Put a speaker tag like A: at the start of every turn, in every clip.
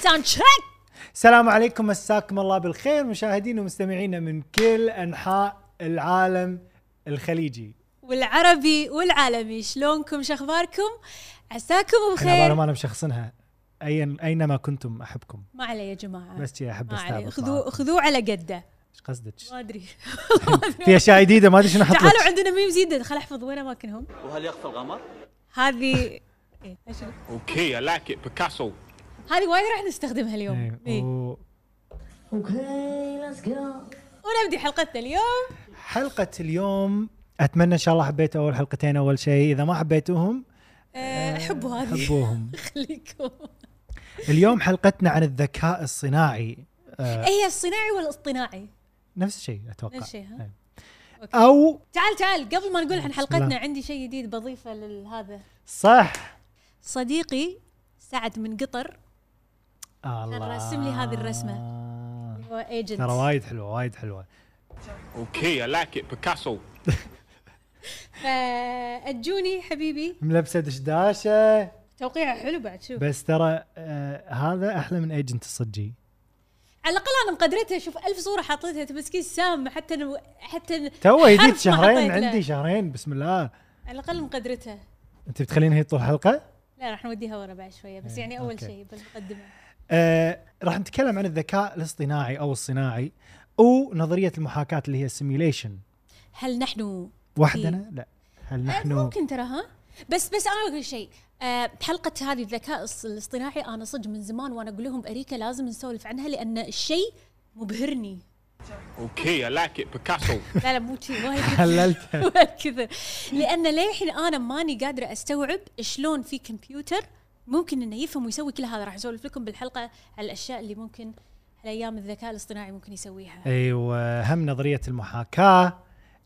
A: ساوند تشيك
B: السلام عليكم مساكم الله بالخير مشاهدينا ومستمعينا من كل انحاء العالم الخليجي
A: والعربي والعالمي شلونكم شخباركم عساكم
B: انا
A: بخير
B: بأمانة انا مشخصنها اين اينما كنتم احبكم
A: ما علي يا جماعه
B: بس شي احب
A: ما علي
B: استعبط
A: خذوه
B: معاكم.
A: خذوه على قده
B: ايش قصدك
A: ما ادري
B: في اشياء جديده ما ادري شنو احط
A: تعالوا
B: لك
A: عندنا ميم جديد خل احفظ وين اماكنهم
C: وهل يخفى القمر؟
A: هذه إيه، إيش-
D: Okay, I like it. Picasso.
A: هذه وايد راح نستخدمها اليوم
B: إيه،
A: إيه.
B: و-
E: Okay, let's go.
A: ونبدي حلقتنا اليوم
B: حلقه اليوم اتمنى ان شاء الله حبيتوا اول حلقتين اول شيء اذا ما حبيتوهم إيه،
A: آه، حبوا هذه
B: حبوهم
A: خليكم
B: اليوم حلقتنا عن الذكاء الصناعي آه،
A: اي إيه، الصناعي ولا الاصطناعي
B: نفس الشيء اتوقع
A: نفس الشيء، ها؟
B: إيه. او
A: تعال تعال قبل ما نقول عن
B: بسم
A: حلقتنا
B: الله.
A: عندي شيء جديد بضيفه لهذا
B: صح
A: صديقي سعد من قطر
B: الله
A: راسم لي هذه الرسمة. هو ايجنت
B: ترى وايد حلوه وايد حلوه
D: Okay, I like it. Picasso.
A: فأجوني آه، حبيبي
B: ملبسه دشداشه
A: توقيعه حلو بعد شوف
B: بس ترى آه هذا احلى من ايجنت الصجي
A: على الاقل انا مقدرتها شوف ألف صوره حاطتها تمسكين سام حتى نو... حتى ن-
B: تو
A: حرف
B: جديد
A: ما
B: شهرين
A: حطيت له.
B: عندي شهرين بسم الله
A: على الاقل مقدرتها
B: انت بتخليني هي طول الحلقه
A: لا راح نوديها ورا بعد شويه بس
B: إيه،
A: يعني اول
B: أوكي.
A: شيء بالمقدمه
B: آه راح نتكلم عن الذكاء الاصطناعي او الصناعي ونظريه المحاكاه اللي هي السيميوليشن
A: هل نحن
B: وحدنا لا هل
A: نحن
B: نحن
A: ممكن ترى ها بس بس انا اقول شيء آه، حلقة هذه الذكاء الص- الاصطناعي انا صدق من زمان وانا اقول لهم اريكا لازم نسولف عنها لان الشيء مبهرني
D: Okay, I like it. Picasso.
A: لا لا مو شيء وايد
B: حللتها
A: وهالكثر لان للحين انا ماني قادره استوعب شلون في كمبيوتر ممكن انه يفهم ويسوي كل هذا راح اسولف لكم بالحلقه على الاشياء اللي ممكن على ايام الذكاء الاصطناعي ممكن يسويها
B: ايوه هم نظريه المحاكاه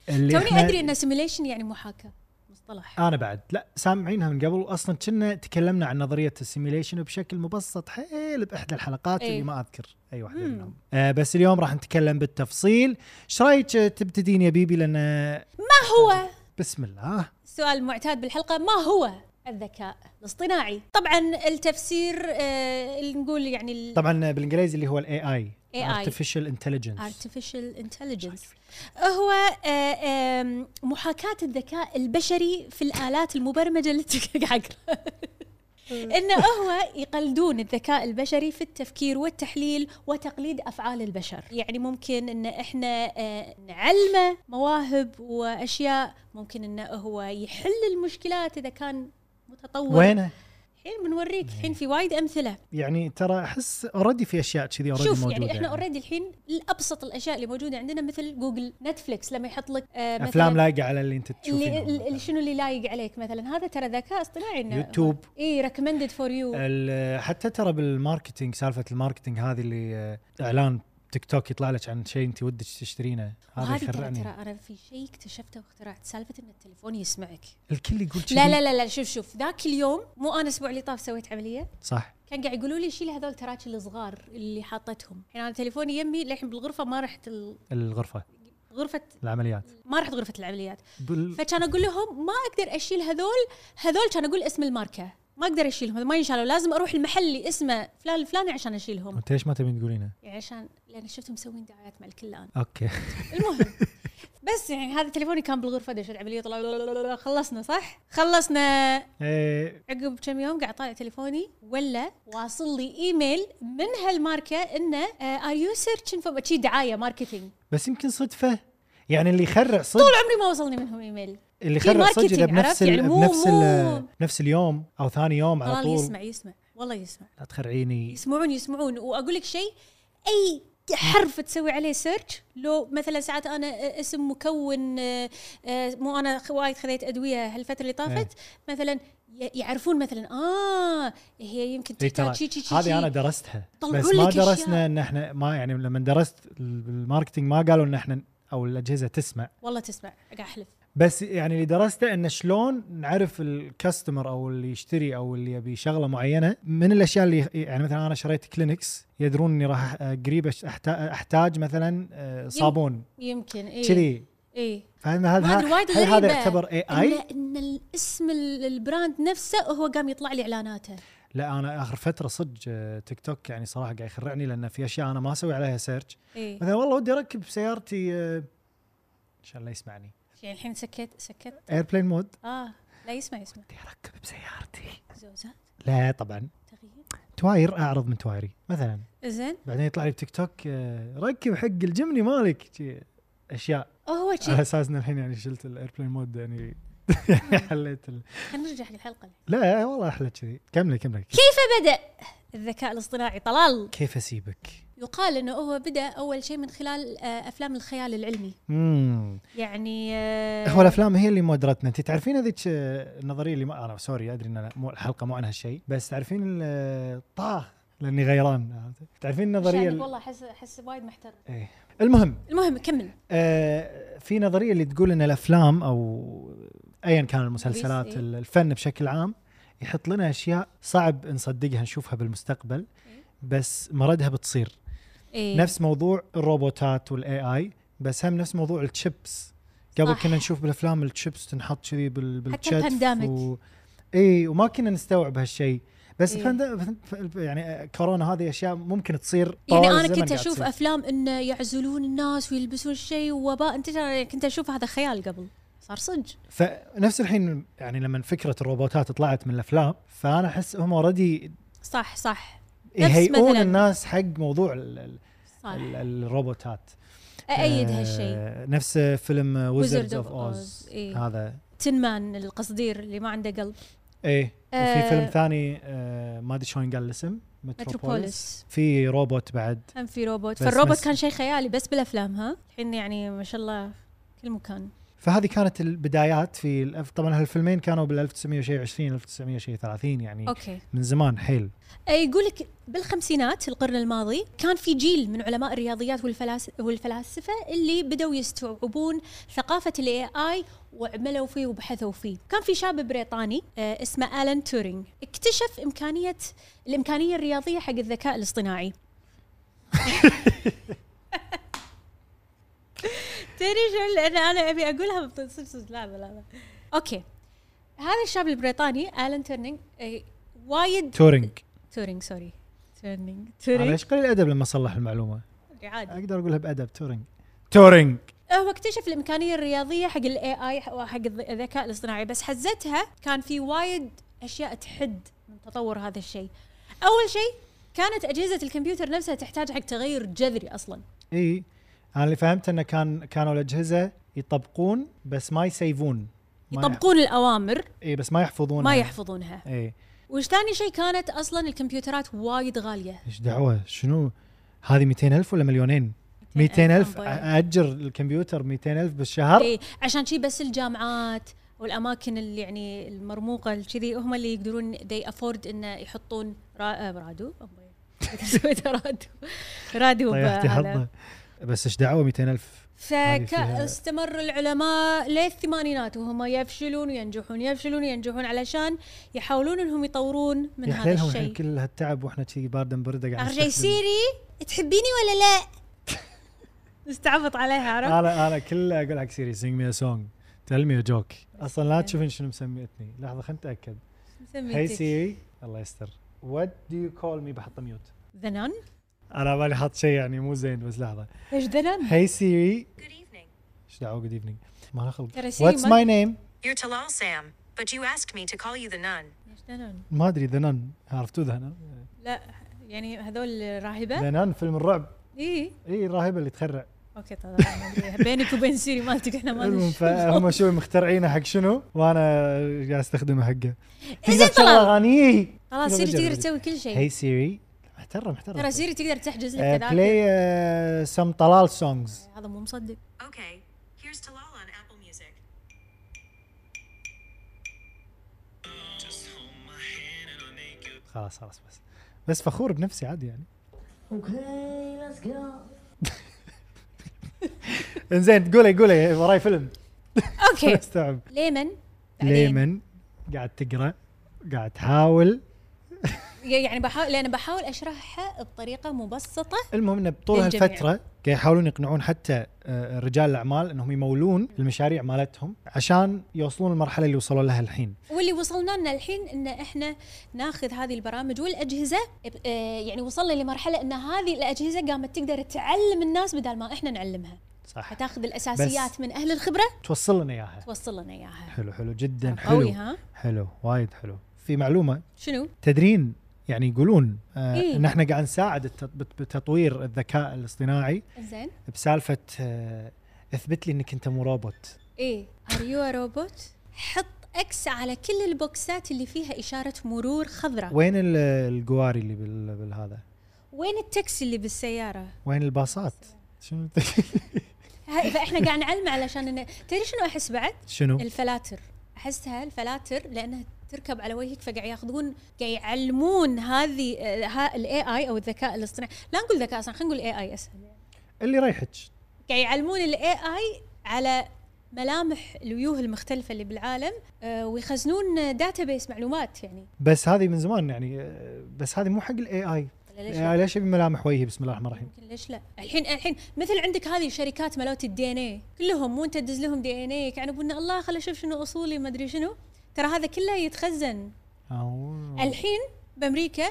B: اللي
A: توني
B: إحنا-
A: ادري ان سيميليشن يعني محاكاه مصطلح
B: انا بعد لا سامعينها من قبل اصلا كنا تكلمنا عن نظريه السيميليشن بشكل مبسط حيل باحدى الحلقات
A: إيه.
B: اللي ما اذكر اي واحده
A: مم.
B: منهم آه بس اليوم راح نتكلم بالتفصيل ايش رايك آه، تبتدين يا بيبي لان آه،
A: ما هو
B: بسم الله
A: السؤال المعتاد بالحلقه ما هو الذكاء الاصطناعي طبعا التفسير آه اللي نقول يعني ال-
B: طبعا آه، بالانجليزي اللي هو الاي اي
A: AI.
B: ارتفيشال انتليجنس
A: artificial intelligence هو آه، آم، محاكاة الذكاء البشري في الآلات المبرمجة اللي قاعد أقرأ. انه هو يقلدون الذكاء البشري في التفكير والتحليل وتقليد افعال البشر، يعني ممكن ان احنا آه، نعلمه مواهب واشياء ممكن انه هو يحل المشكلات اذا كان متطور
B: وينه؟
A: الحين بنوريك الحين في وايد امثله
B: يعني ترى احس اوريدي في اشياء كذي اوريدي
A: شوف
B: موجوده
A: يعني احنا اوريدي الحين الابسط الاشياء اللي موجوده عندنا مثل جوجل نتفلكس لما يحط لك آه مثلا
B: افلام لايقه على اللي انت
A: اللي
B: تشوفينهم
A: اللي- اللي شنو اللي لايق عليك مثلا هذا ترى ذكاء اصطناعي انه
B: يوتيوب. آه،
A: اي ريكومندد فور يو
B: ال- حتى ترى بالماركتينج سالفه الماركتينج هذه اللي آه، اعلان تيك توك يطلع لك عن شيء انت ودك تشترينه هذا
A: هذه ترى
B: يخرعني
A: ترى انا في شيء اكتشفته واخترعت سالفه ان التليفون يسمعك
B: الكل يقول
A: لا لا لا لا شوف شوف ذاك اليوم مو انا الاسبوع اللي طاف سويت عمليه
B: صح
A: كان قاعد يقولوا لي شيل هذول التراجل الصغار اللي حاطتهم الحين انا تليفوني يمي للحين بالغرفه ما رحت ال-
B: الغرفه
A: غرفه
B: العمليات
A: ما رحت غرفه العمليات
B: بال...
A: فكان اقول لهم ما اقدر اشيل هذول هذول كان اقول اسم الماركه ما اقدر اشيلهم ما ينشالوا لازم اروح المحل اللي اسمه فلان الفلاني عشان اشيلهم
B: انت ليش ما تبين تقولينه؟
A: يعني عشان لان شفتهم مسوين دعايات مع الكل الان
B: اوكي
A: المهم بس يعني هذا تليفوني كان بالغرفه دش العمليه طلع خلصنا صح خلصنا
B: إيه،
A: عقب كم يوم قاعد طالع تليفوني ولا واصل لي ايميل من آه، هالماركه انه ار يو سيرشن فور شي دعايه ماركتينج
B: بس يمكن صدفه يعني اللي يخرع صدق
A: طول عمري ما وصلني منهم ايميل
B: اللي
A: في
B: يخرع صدق
A: ماركتينج،
B: إذا بنفس
A: عرفت؟
B: ال...
A: يعني مو-
B: بنفس ال...
A: مو-
B: بنفس اليوم او ثاني يوم على
A: والله
B: طول
A: يسمع يسمع والله يسمع
B: لا تخرعيني
A: يسمعون يسمعون واقول لك شيء اي حرف تسوي عليه سيرش لو مثلا ساعات انا
B: إيه.
A: اسم مكون آه، آه، مو انا خ- وايد خذيت ادويه هالفتره اللي طافت مثلا ي- يعرفون مثلا اه هي يمكن
B: اي
A: تحتاج
B: إيه، ترى
A: شي شي شي شي.
B: هذه انا درستها
A: طلعوا
B: بس
A: لك
B: ما
A: أشياء.
B: درسنا ان احنا ما يعني لما درست الماركتينج ما قالوا ان احنا او الاجهزه تسمع
A: والله تسمع قاعد احلف
B: بس يعني اللي درسته انه شلون نعرف الكاستمر او اللي يشتري او اللي يبي شغله معينه من الاشياء اللي يعني مثلا انا شريت كلينكس يدرون اني راح آه، قريب أش- أحتا- احتاج مثلا آه، صابون
A: يمكن اي
B: كذي
A: اي
B: فهل هذا
A: إيه. ما أدري وايد
B: هل هذا
A: غريبة.
B: يعتبر اي
A: ان,
B: اي؟
A: إن الاسم ال- البراند نفسه هو قام يطلع لي اعلاناته
B: لا انا اخر فتره صدق آه، تيك توك يعني صراحه قاعد يخرعني لان في اشياء انا ما اسوي عليها سيرش
A: اي
B: مثلا والله ودي اركب سيارتي آه، ان شاء الله يسمعني
A: يعني الحين سكت سكت
B: ايربلين مود
A: اه لا يسمع يسمع
B: ودي اركب بسيارتي
A: زوزات
B: لا طبعا
A: تغيير
B: تواير اعرض من توايري مثلا
A: زين
B: بعدين يطلع لي بتيك توك آه، ركب حق الجمني مالك شي اشياء
A: هو شي
B: على اساس ان الحين يعني شلت الايربلين مود يعني حليت ال...
A: خلينا نرجع حق الحلقه الحين.
B: لا والله احلى كذي كملي كملي
A: كيف بدا الذكاء الاصطناعي طلال
B: كيف اسيبك؟
A: يقال انه هو بدا اول شيء من خلال آه، افلام الخيال العلمي
B: امم
A: يعني آه،
B: هو الافلام هي اللي مودرتنا انت تعرفين هذيك آه، النظريه اللي ما انا سوري ادري ان أنا مو الحلقه مو عن هالشيء بس تعرفين ال- طاه لاني غيران تعرفين النظريه
A: شايف
B: ال-
A: والله احس احس وايد محتار
B: إيه. المهم
A: المهم كمل
B: آه، في نظريه اللي تقول ان الافلام او ايا كان المسلسلات
A: إيه.
B: ال- الفن بشكل عام يحط لنا اشياء صعب نصدقها نشوفها بالمستقبل بس مردها بتصير
A: إيه.
B: نفس موضوع الروبوتات والاي اي بس هم نفس موضوع الشيبس قبل
A: صح.
B: كنا نشوف بالافلام الشيبس تنحط كذي بال بالشتف
A: البانديميك.
B: و... اي وما كنا نستوعب هالشيء بس
A: إيه.
B: الباند- ف- يعني كورونا هذه اشياء ممكن تصير طوال
A: يعني انا
B: الزمن
A: كنت
B: قاعد
A: اشوف
B: تصير.
A: افلام انه يعزلون الناس ويلبسون شيء ووباء انتشر يعني كنت اشوف هذا خيال قبل صار صدق
B: فنفس الحين يعني لما فكره الروبوتات طلعت من الافلام فانا احس هم اوريدي
A: صح صح نفس
B: يهيئون
A: مثلاً.
B: الناس حق موضوع ال ال
A: صح
B: ال الروبوتات
A: اأيد
B: آه،
A: هالشيء
B: نفس فيلم ويزردز
A: of
B: اوف
A: Oz.
B: اوز
A: إيه.
B: هذا
A: تنمان القصدير اللي ما عنده قلب
B: ايه وفي
A: آه،
B: فيلم ثاني آه، ما ادري شلون قال الاسم متروبوليس
A: متروبوليس
B: في روبوت بعد
A: هم في روبوت
B: بس
A: فالروبوت
B: مس-
A: كان شيء خيالي بس بالافلام ها الحين يعني ما شاء الله كل مكان
B: فهذه كانت البدايات في الأف- طبعا هالفيلمين كانوا بال 1920 1930 يعني
A: اوكي
B: من زمان حيل
A: آه، يقول لك بالخمسينات القرن الماضي كان في جيل من علماء الرياضيات والفلاس والفلاسفه اللي بدأوا يستوعبون ثقافه الاي اي وعملوا فيه وبحثوا فيه. كان في شاب بريطاني آه، اسمه الان تورينج اكتشف امكانيه الامكانيه الرياضيه حق الذكاء الاصطناعي. تدري شو لان انا ابي اقولها بصدق صدق لا لا لا اوكي هذا الشاب البريطاني الان تورينج آه، وايد
B: تورينج
A: تورينج سوري تورينج
B: انا
A: تورينج
B: ايش قليل الادب لما صلح المعلومه
A: عادي أه،
B: اقدر اقولها بادب تورينج تورينج
A: هو اكتشف الامكانيه الرياضيه حق الاي اي وحق الذ- الذكاء الاصطناعي بس حزتها كان في وايد اشياء تحد من تطور هذا الشيء اول شيء كانت اجهزه الكمبيوتر نفسها تحتاج حق تغير جذري اصلا
B: اي انا اللي فهمت انه كان كانوا الاجهزه يطبقون بس ما يسيفون ما يح-
A: يطبقون الاوامر
B: اي بس ما يحفظون
A: ما يحفظونها
B: اي
A: وش ثاني شيء كانت اصلا الكمبيوترات وايد غاليه
B: ايش دعوه شنو هذه 200000 ولا مليونين 200000
A: 200,000
B: أ-
A: أمبايل.
B: اجر الكمبيوتر 200000 بالشهر
A: اي إيه، عشان شي بس الجامعات والاماكن اللي يعني المرموقه كذي هم اللي يقدرون they afford انه يحطون را... آه، رادو أمي. سويت رادو رادو بهذا.
B: طيحتي حظه بس ايش دعوه 200000 هذه فيها-
A: فاستمر العلماء للثمانينات وهم يفشلون وينجحون يفشلون وينجحون علشان يحاولون انهم يطورون من
B: يا
A: هذا
B: حليلهم يعني الحين
A: الشيء
B: كل يعني هالتعب واحنا كذي باردا برده قاعد
A: اخر شيء
B: نستخدم.
A: سيري تحبيني ولا لا؟ نستعبط عليها عرفت؟
B: انا انا كله اقول حق سيري سينج مي سونج تيل مي جوك اصلا
A: إيه.
B: لا تشوفين شنو مسميتني لحظه خلينا نتاكد آه، هاي سيري الله يستر وات دو يو كول مي بحط ميوت
A: ذنان؟
B: انا بالي حاط شيء يعني مو زين بس لحظه
A: ايش ذنان؟
B: هاي سيري ايش دعوه جود ايفنينج ما له خلق
A: ترى سيري
B: واتس
A: ما-
B: ماي نيم
C: You're Talal Sam, but you asked me to call you the nun.
A: ايش ذنان؟
B: ما ادري ذا نن عرفتوا ذا نن
A: لا يعني هذول راهبه؟
B: ذا نن فيلم الرعب
A: اي
B: اي الراهبه اللي تخرع
A: اوكي طبعا ما أدري. بينك وبين سيري مالتك احنا ما
B: المهم
A: ندري
B: فهم شو مخترعينه حق شنو وانا قاعد استخدمه حقه
A: إنزين
B: تقدر تشغل
A: طلال.
B: اغانيه
A: خلاص سيري تقدر تسوي كل
B: هي آه،
A: شيء
B: سيري محترم محترم آه،
A: ترى سيري تقدر تحجز لك تذاكر
B: بلاي سم طلال سونجز
A: هذا مو مصدق
C: Okay, here's Talal on Apple Music.
F: Just
B: خلاص خلاص بس بس فخور بنفسي عادي يعني
E: Okay, let's go.
B: انزين قولي قولي وراي فيلم
A: اوكي
B: استوعب
A: ليمن بعدين.
B: ليمن قاعد تقرا قاعد تحاول
A: يعني بحاول لان بحاول اشرحها بطريقه مبسطه
B: المهم انه بطول
A: للجميع.
B: هالفتره قاعد يحاولون يقنعون حتى آه، رجال الاعمال انهم يمولون المشاريع مالتهم عشان يوصلون المرحله اللي وصلوا لها الحين
A: واللي وصلنا لنا الحين ان احنا ناخذ هذه البرامج والاجهزه ب- آه، يعني وصلنا لمرحله ان هذه الاجهزه قامت تقدر تعلم الناس بدل ما احنا نعلمها
B: صح
A: فتاخذ الاساسيات من اهل الخبره
B: توصل لنا اياها
A: توصل لنا اياها
B: حلو حلو جدا
A: قوي
B: حلو
A: ها
B: حلو وايد حلو في معلومه
A: شنو
B: تدرين يعني يقولون آه
A: إيه؟
B: ان احنا قاعد نساعد الت- بت- بتطوير الذكاء الاصطناعي
A: زين
B: بسالفه آه اثبت لي انك انت مو روبوت
A: ايه ار يو روبوت حط اكس على كل البوكسات اللي فيها اشاره مرور خضراء
B: وين ال- القواري اللي بال- بالهذا
A: وين التاكسي اللي بالسياره
B: وين الباصات شنو
A: هاي- فاحنا قاعد نعلمه علشان إنه- تدري شنو احس بعد
B: شنو
A: الفلاتر احسها الفلاتر لانها تركب على وجهك فقاعد ياخذون قاعد يعلمون هذه آه، ها الاي اي او الذكاء الاصطناعي لا نقول ذكاء اصلا خلينا نقول اي اي اسهل
B: اللي رايحك
A: قاعد يعلمون الاي اي على ملامح الوجوه المختلفه اللي بالعالم آه، ويخزنون داتابيس معلومات يعني
B: بس هذه من زمان يعني آه، بس هذه مو حق الاي اي
A: ولا ليش لا؟
B: يعني ليش ابي ملامح وجهي بسم الله الرحمن الرحيم
A: يمكن ليش لا الحين الحين مثل عندك هذه شركات ملوت الدي ان اي كلهم مو انت تدز لهم دي ان اي يكعنبون يعني الله خل اشوف شنو اصولي ما ادري شنو ترى هذا كله يتخزن
B: أوه.
A: الحين بامريكا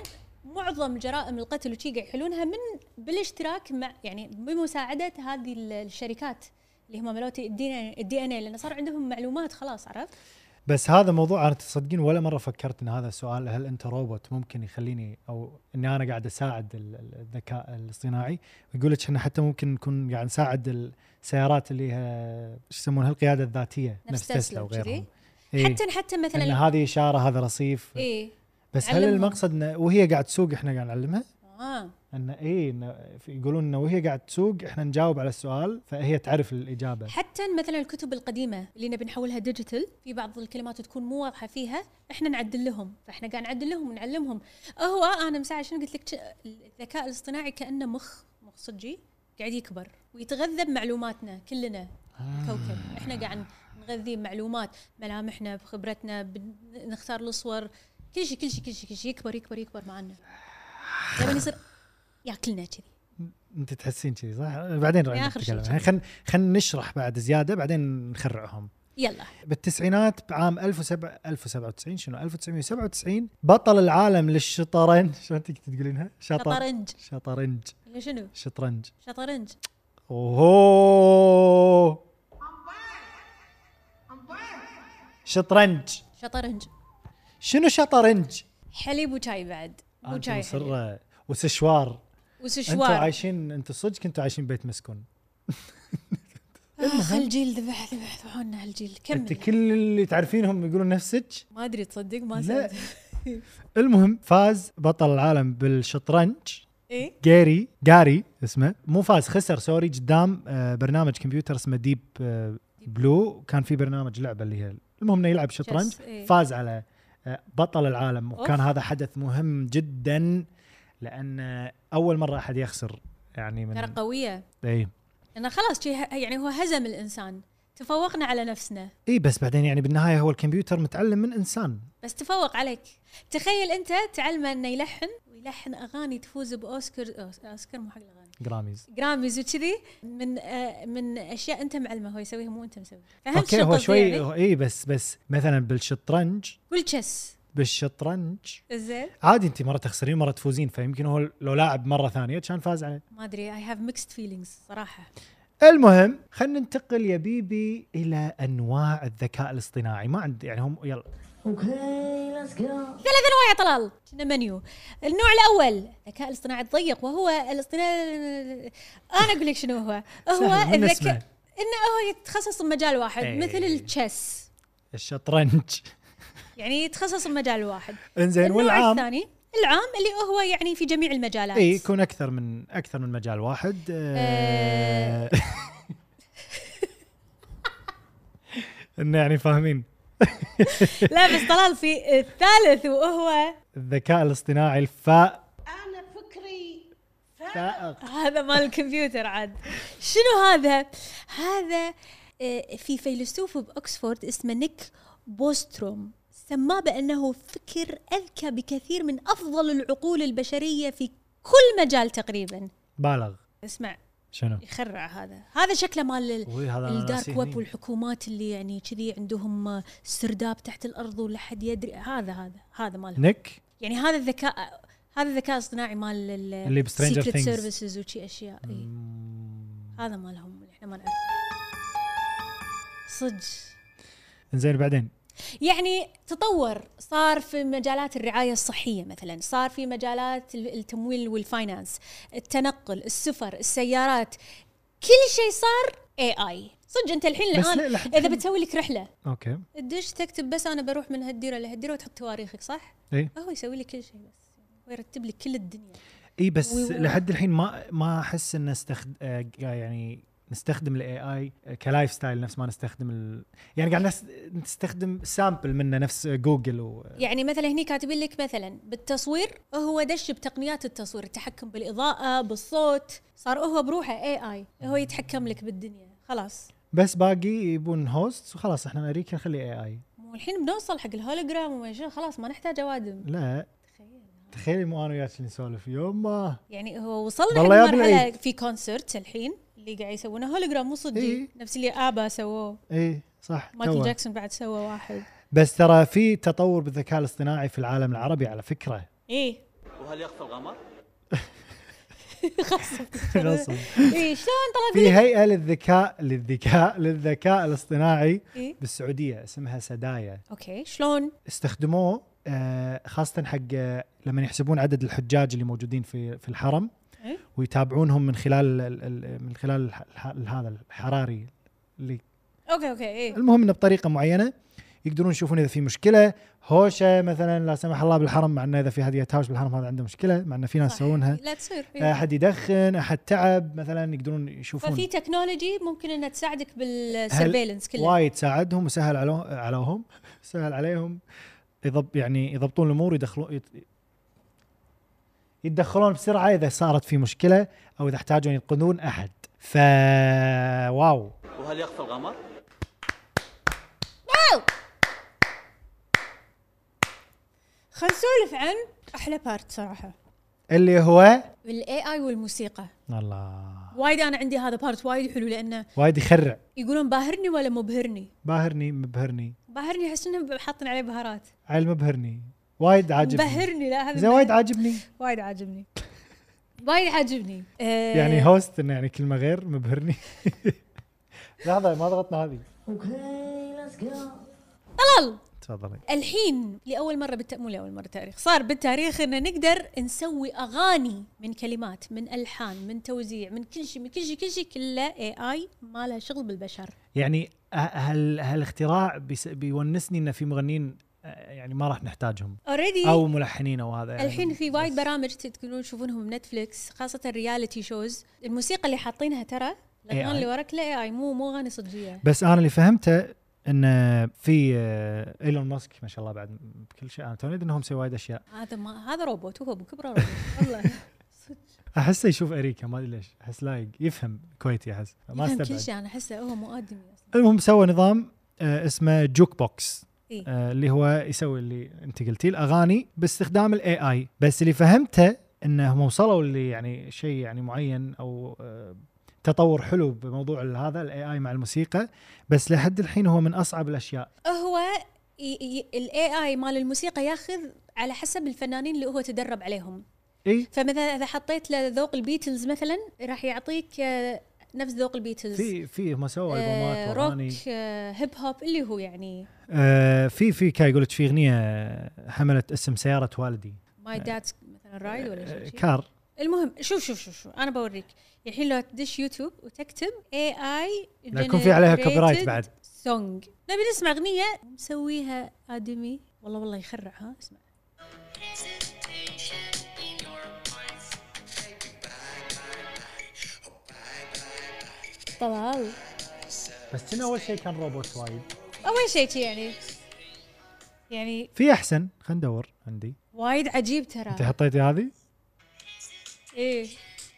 A: معظم جرائم القتل وشي قاعد يحلونها من بالاشتراك مع يعني بمساعده هذه ال- الشركات اللي هم ملوت الدي ان اي لان صار عندهم معلومات خلاص عرفت؟
B: بس هذا موضوع انا تصدقين ولا مره فكرت ان هذا سؤال هل انت روبوت ممكن يخليني او اني انا قاعد اساعد ال- ال- الذكاء الاصطناعي ويقول لك احنا حتى ممكن نكون قاعد نساعد السيارات اللي ها- شو يسمونها القياده الذاتيه
A: نفس
B: نفس
A: تسلا
B: تسلا
A: وكذي.
B: وغيرهم
A: إيه؟
B: إيه؟
A: حتى حتى
B: ان
A: مثلا
B: هذه اشاره هذا رصيف
A: ايه
B: بس هل
A: علمهم.
B: المقصد إن وهي قاعد تسوق احنا قاعد نعلمها؟
A: اه
B: ان اي إن في- يقولون انه وهي قاعد تسوق احنا نجاوب على السؤال فهي تعرف الاجابه
A: حتى مثلا الكتب القديمه اللي نبي نحولها ديجيتال في بعض الكلمات تكون مو واضحه فيها احنا نعدل لهم فاحنا قاعد نعدل لهم ونعلمهم هو انا مساعد شنو قلت لك ش- الذكاء الاصطناعي كانه مخ مخ صجي قاعد يكبر ويتغذى بمعلوماتنا كلنا الكوكب احنا قاعد نغذيه بمعلومات ملامحنا بخبرتنا بن- نختار الصور كل شيء كل شيء كل شيء كل شيء يكبر يكبر يكبر معنا لما يصير ياكلنا كذي
B: انت تحسين كذي صح؟ بعدين راح
A: آخر شيء
B: نتكلم
A: كذي.
B: يعني خلينا خلينا نشرح بعد زياده بعدين نخرعهم
A: يلا
B: بالتسعينات بعام 1007 1097 شنو 1997 بطل العالم للشطرنج شلون انت كنت تقولينها؟ شطر
A: شطرنج
B: شطرنج
A: ولا شنو
B: شطرنج
A: شطرنج
B: اوهو شطرنج
A: شطرنج
B: شنو شطرنج؟
A: حليب وشاي بعد مو
B: انت
A: شاي حليب.
B: مصره وسشوار انتوا
A: وسشوار
B: عايشين انتوا صدق كنتوا عايشين بيت مسكون
A: اخ الجيل آه، ذبح ذبح ذبحونا هالجيل
B: انت
A: كمل
B: كل اللي تعرفينهم يقولون نفسك
A: ما ادري تصدق ما
B: لا.
A: صدق
B: المهم فاز بطل العالم بالشطرنج
A: ايه
B: جاري جاري اسمه مو فاز خسر سوري قدام آه، برنامج كمبيوتر اسمه ديب آه، بلو كان في برنامج لعبه اللي هي المهم انه يلعب شطرنج
A: Chess، إيه.
B: فاز على آه، بطل العالم وكان
A: أوف.
B: هذا حدث مهم جدا لان آه، اول مره احد يخسر يعني
A: ترى
B: من إيه.
A: قويه
B: اي
A: لانه خلاص شي ه- يعني هو هزم الانسان تفوقنا على نفسنا
B: اي بس بعدين يعني بالنهايه هو الكمبيوتر متعلم من انسان
A: بس تفوق عليك تخيل انت تعلمه انه يلحن ويلحن اغاني تفوز باوسكار أوس- اوسكار مو حق الاغاني
B: جراميز
A: جراميز وكذي من آه من اشياء انت معلمه هو يسويها مو انت مسويها فهمت
B: اوكي
A: شو
B: هو
A: قصدي
B: شوي
A: يعني؟
B: اي بس بس مثلا بالشطرنج
A: والتشس
B: بالشطرنج
A: زين
B: عادي انت مره تخسرين مره تفوزين فيمكن هو لو لاعب مره ثانيه كان فاز عليه
A: ما ادري اي هاف ميكسد فيلينجز صراحه
B: المهم خلينا ننتقل يا بيبي الى انواع الذكاء الاصطناعي ما عندي يعني هم يلا
E: Okay, let's go.
A: ثلاث انواع يا طلال كنا منيو النوع الاول الذكاء الاصطناعي الضيق وهو الاصطناعي انا اقول لك شنو هو
B: سهل،
A: هو
B: من اسمه.
A: الذكاء انه هو يتخصص بمجال واحد
B: إيه.
A: مثل التشيس
B: الشطرنج
A: يعني يتخصص بمجال واحد
B: انزين
A: النوع
B: إيه، والعام إيه،
A: الثاني العام اللي هو يعني في جميع المجالات
B: اي يكون اكثر من اكثر من مجال واحد
A: آه.
B: آه، انه يعني فاهمين
A: لا بس طلال في الثالث وهو
B: الذكاء الاصطناعي الفاء
F: انا فكري
B: فائق
A: هذا مال الكمبيوتر عاد شنو هذا؟ هذا آه، في فيلسوف باوكسفورد اسمه نيك بوستروم سماه بانه فكر اذكى بكثير من افضل العقول البشريه في كل مجال تقريبا
B: بالغ
A: اسمع
B: شنو؟
A: يخرع هذا هذا شكله مال ال-
B: وي، هذا أنا
A: الدارك
B: ناسيه
A: ويب
B: هني.
A: والحكومات اللي يعني كذي عندهم آه، سرداب تحت الارض ولا حد يدري هذا هذا هذا مال
B: نيك
A: يعني هذا الذكاء هذا الذكاء الاصطناعي مال ال-
B: اللي بسترينجر
A: Secret
B: Things.
A: سيرفيسز وشي اشياء اي هذا مالهم اللي احنا ما نعرف صدق
B: زين بعدين
A: يعني تطور صار في مجالات الرعايه الصحيه مثلا صار في مجالات ال- التمويل والفاينانس التنقل السفر السيارات كل شيء صار اي اي صدق انت الحين
B: بس
A: الان
B: لا، لحد
A: اذا
B: الحين-
A: بتسوي لك رحله
B: اوكي
A: تدش تكتب بس انا بروح من هالديره لهالديره وتحط تواريخك صح؟
B: اي
A: هو يسوي لك كل شيء بس يعني ويرتب لك كل الدنيا
B: اي إيه، بس
A: وي- وي.
B: لحد الحين ما ما احس ان استخد... آه، يعني نستخدم الاي اي كلايف ستايل نفس ما نستخدم ال... يعني قاعد نس- نستخدم سامبل منه نفس جوجل و...
A: يعني مثلا هني كاتبين لك مثلا بالتصوير هو دش بتقنيات التصوير التحكم بالاضاءه بالصوت صار هو بروحه اي اي هو يتحكم لك بالدنيا خلاص
B: بس باقي يبون هوست وخلاص احنا امريكا نخلي اي اي
A: مو الحين بنوصل حق الهولوجرام وما شنو خلاص ما نحتاج اوادم
B: لا تخيلي مو انا وياك اللي نسولف يوما
A: يعني هو وصلنا
B: والله يا
A: حق
B: ابن
A: مرحله
B: العيد.
A: في كونسرت الحين اللي قاعد يسوونه هولوجرام مو صدق
B: إي.
A: نفس اللي ابا سووه
B: اي إيه، صح
A: مايكل
B: توه.
A: جاكسون بعد سوى واحد
B: بس ترى في تطور بالذكاء الاصطناعي في العالم العربي على فكره
A: ايه
G: وهل يخفى القمر؟
B: غصب.
A: ايه شلون طلع
B: في هيئه للذكاء للذكاء للذكاء الاصطناعي
A: إيه؟
B: بالسعوديه اسمها سدايا
A: اوكي شلون
B: استخدموه آه، خاصه حق آه، لما يحسبون عدد الحجاج اللي موجودين في في الحرم
A: إيه؟
B: ويتابعونهم من خلال ال- ال- من خلال الح- الح- هذا الحراري اللي
A: اوكي اوكي ايه
B: المهم انه بطريقه معينه يقدرون يشوفون اذا في مشكله هوشه مثلا لا سمح الله بالحرم مع انه اذا في احد يتهاوش بالحرم هذا عنده مشكله مع انه في ناس
A: صح.
B: يسوونها
A: لا تصير إيه.
B: احد يدخن احد تعب مثلا يقدرون يشوفون
A: ففي تكنولوجي ممكن انها تساعدك بالسرفيلنس كله
B: وايد ساعدهم وسهل علو... عليهم سهل عليهم يضب يعني يضبطون الامور يدخلون يت... يتدخلون بسرعه اذا صارت في مشكله او اذا احتاجوا ينقذون احد ف واو
G: وهل يخفى القمر؟
A: خلينا نسولف عن احلى بارت صراحه
B: اللي هو
A: الاي اي والموسيقى
B: الله
A: وايد انا عندي هذا بارت وايد حلو لانه
B: وايد يخرع
A: يقولون باهرني ولا مبهرني
B: باهرني مبهرني
A: باهرني احس انهم حاطين عليه بهارات
B: عيل مبهرني وايد عاجبني
A: مبهرني لا هذا
B: زين
A: من-
B: وايد عاجبني
A: وايد عاجبني وايد عاجبني آه،
B: يعني هوست انه يعني كلمه غير مبهرني لحظه ما ضغطنا هذه
E: Okay, let's go.
A: طلال
B: تفضلي
A: الحين لاول مره بالت... مو لاول مره تاريخ صار بالتاريخ ان نقدر نسوي اغاني من كلمات من الحان من توزيع من كل شيء من كل شيء كل شيء كله اي اي ما له شغل بالبشر
B: يعني ه- هال هالاختراع بيس- بيونسني انه في مغنيين آه، يعني ما راح نحتاجهم
A: اوريدي
B: او ملحنين او هذا يعني
A: إيه. الحين في
B: بس-
A: وايد برامج تقدرون تشوفونهم نتفلكس خاصه الرياليتي شوز الموسيقى اللي حاطينها ترى الاغاني
B: AI.
A: اللي وراك لا اي مو مو اغاني صجيه
B: بس انا اللي فهمته ان في آه، ايلون ماسك ما شاء الله بعد بكل شيء انا توني أدري انه هو مسوي وايد اشياء
A: هذا ما هذا روبوت وهو بكبره روبوت والله
B: احسه يشوف اريكا ما ادري ليش احس لايق يفهم كويتي احس ما
A: يفهم كل
B: استبعد
A: شيء انا احسه هو مو ادمي اصلا
B: المهم سوى نظام آه، اسمه جوك بوكس
A: إيه.
B: آه، اللي هو يسوي اللي انت قلتيه الاغاني باستخدام الاي اي بس اللي فهمته انهم وصلوا اللي يعني شيء يعني معين او آه، تطور حلو بموضوع هذا الاي اي مع الموسيقى بس لحد الحين هو من اصعب الاشياء
A: هو الاي اي مال الموسيقى ياخذ على حسب الفنانين اللي هو تدرب عليهم
B: اي
A: فمثلا اذا حطيت له ذوق البيتلز مثلا راح يعطيك آه، نفس ذوق البيتلز
B: في في هم سووا
A: آه،
B: البومات واغاني
A: روك آه، هيب هوب اللي هو يعني
B: آه، في في كاي يقول لك في اغنيه حملت اسم سياره والدي
A: ماي داد مثلا رايد ولا شيء
B: يعني، آه،
A: شي.
B: كار
A: المهم شوف شوف شوف شوف انا بوريك الحين لو تدش يوتيوب وتكتب اي اي
B: لا يكون في عليها copyright بعد.
A: سونج نبي نسمع اغنيه مسويها ادمي والله والله يخرع ها اسمع طلال
B: بس كنا اول شيء كان روبوت وايد
A: اول شيء شي يعني يعني
B: في احسن خلينا ندور عندي
A: وايد عجيب ترى
B: انت حطيتي هذه
A: ايه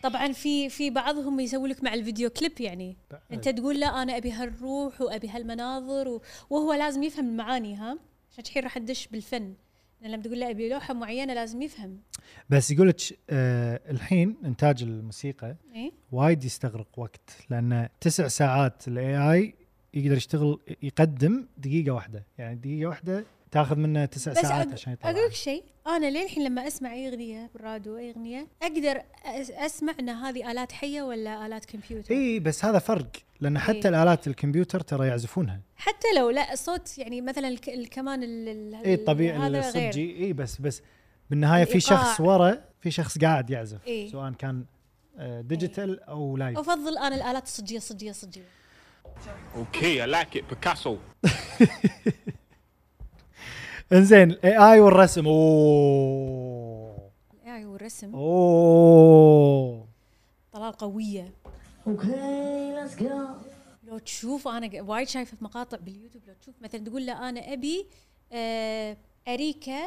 A: طبعا في في بعضهم يسوي لك مع الفيديو كليب يعني انت تقول لا انا ابي هالروح وابي هالمناظر و... وهو لازم يفهم المعاني ها عشان الحين راح ندش بالفن لأن لما تقول له ابي لوحه معينه لازم يفهم
B: بس يقول لك آه الحين انتاج الموسيقى
A: ايه
B: وايد يستغرق وقت لان تسع ساعات الاي اي يقدر يشتغل يقدم دقيقه واحده يعني دقيقه واحده تاخذ منه تسع
A: بس
B: ساعات
A: أق-
B: عشان يطلع
A: اقول لك شيء انا للحين لما اسمع اي اغنيه بالراديو اي اغنيه اقدر أس- اسمع ان هذه الات حيه ولا الات كمبيوتر
B: اي بس هذا فرق لان
A: إيه.
B: حتى الالات الكمبيوتر ترى يعزفونها
A: حتى لو لا صوت يعني مثلا الك- الكمان ال- ال-
B: اي إيه، الطبيعي
A: هذا غير.
B: الصجي اي بس بس بالنهايه في
A: الإيقاع.
B: شخص ورا في شخص قاعد يعزف
A: إيه.
B: سواء كان آه، ديجيتال او لايف
A: افضل انا الالات الصجيه الصجيه الصجيه
D: Okay, I like it, Picasso.
B: انزين الاي اي والرسم اوه
A: الاي أيوة، والرسم
B: اوه
A: طلال قويه
E: Okay, let's go.
A: لو تشوف انا ق- وايد شايفه في مقاطع باليوتيوب لو تشوف مثلا تقول له انا ابي آه، اريكه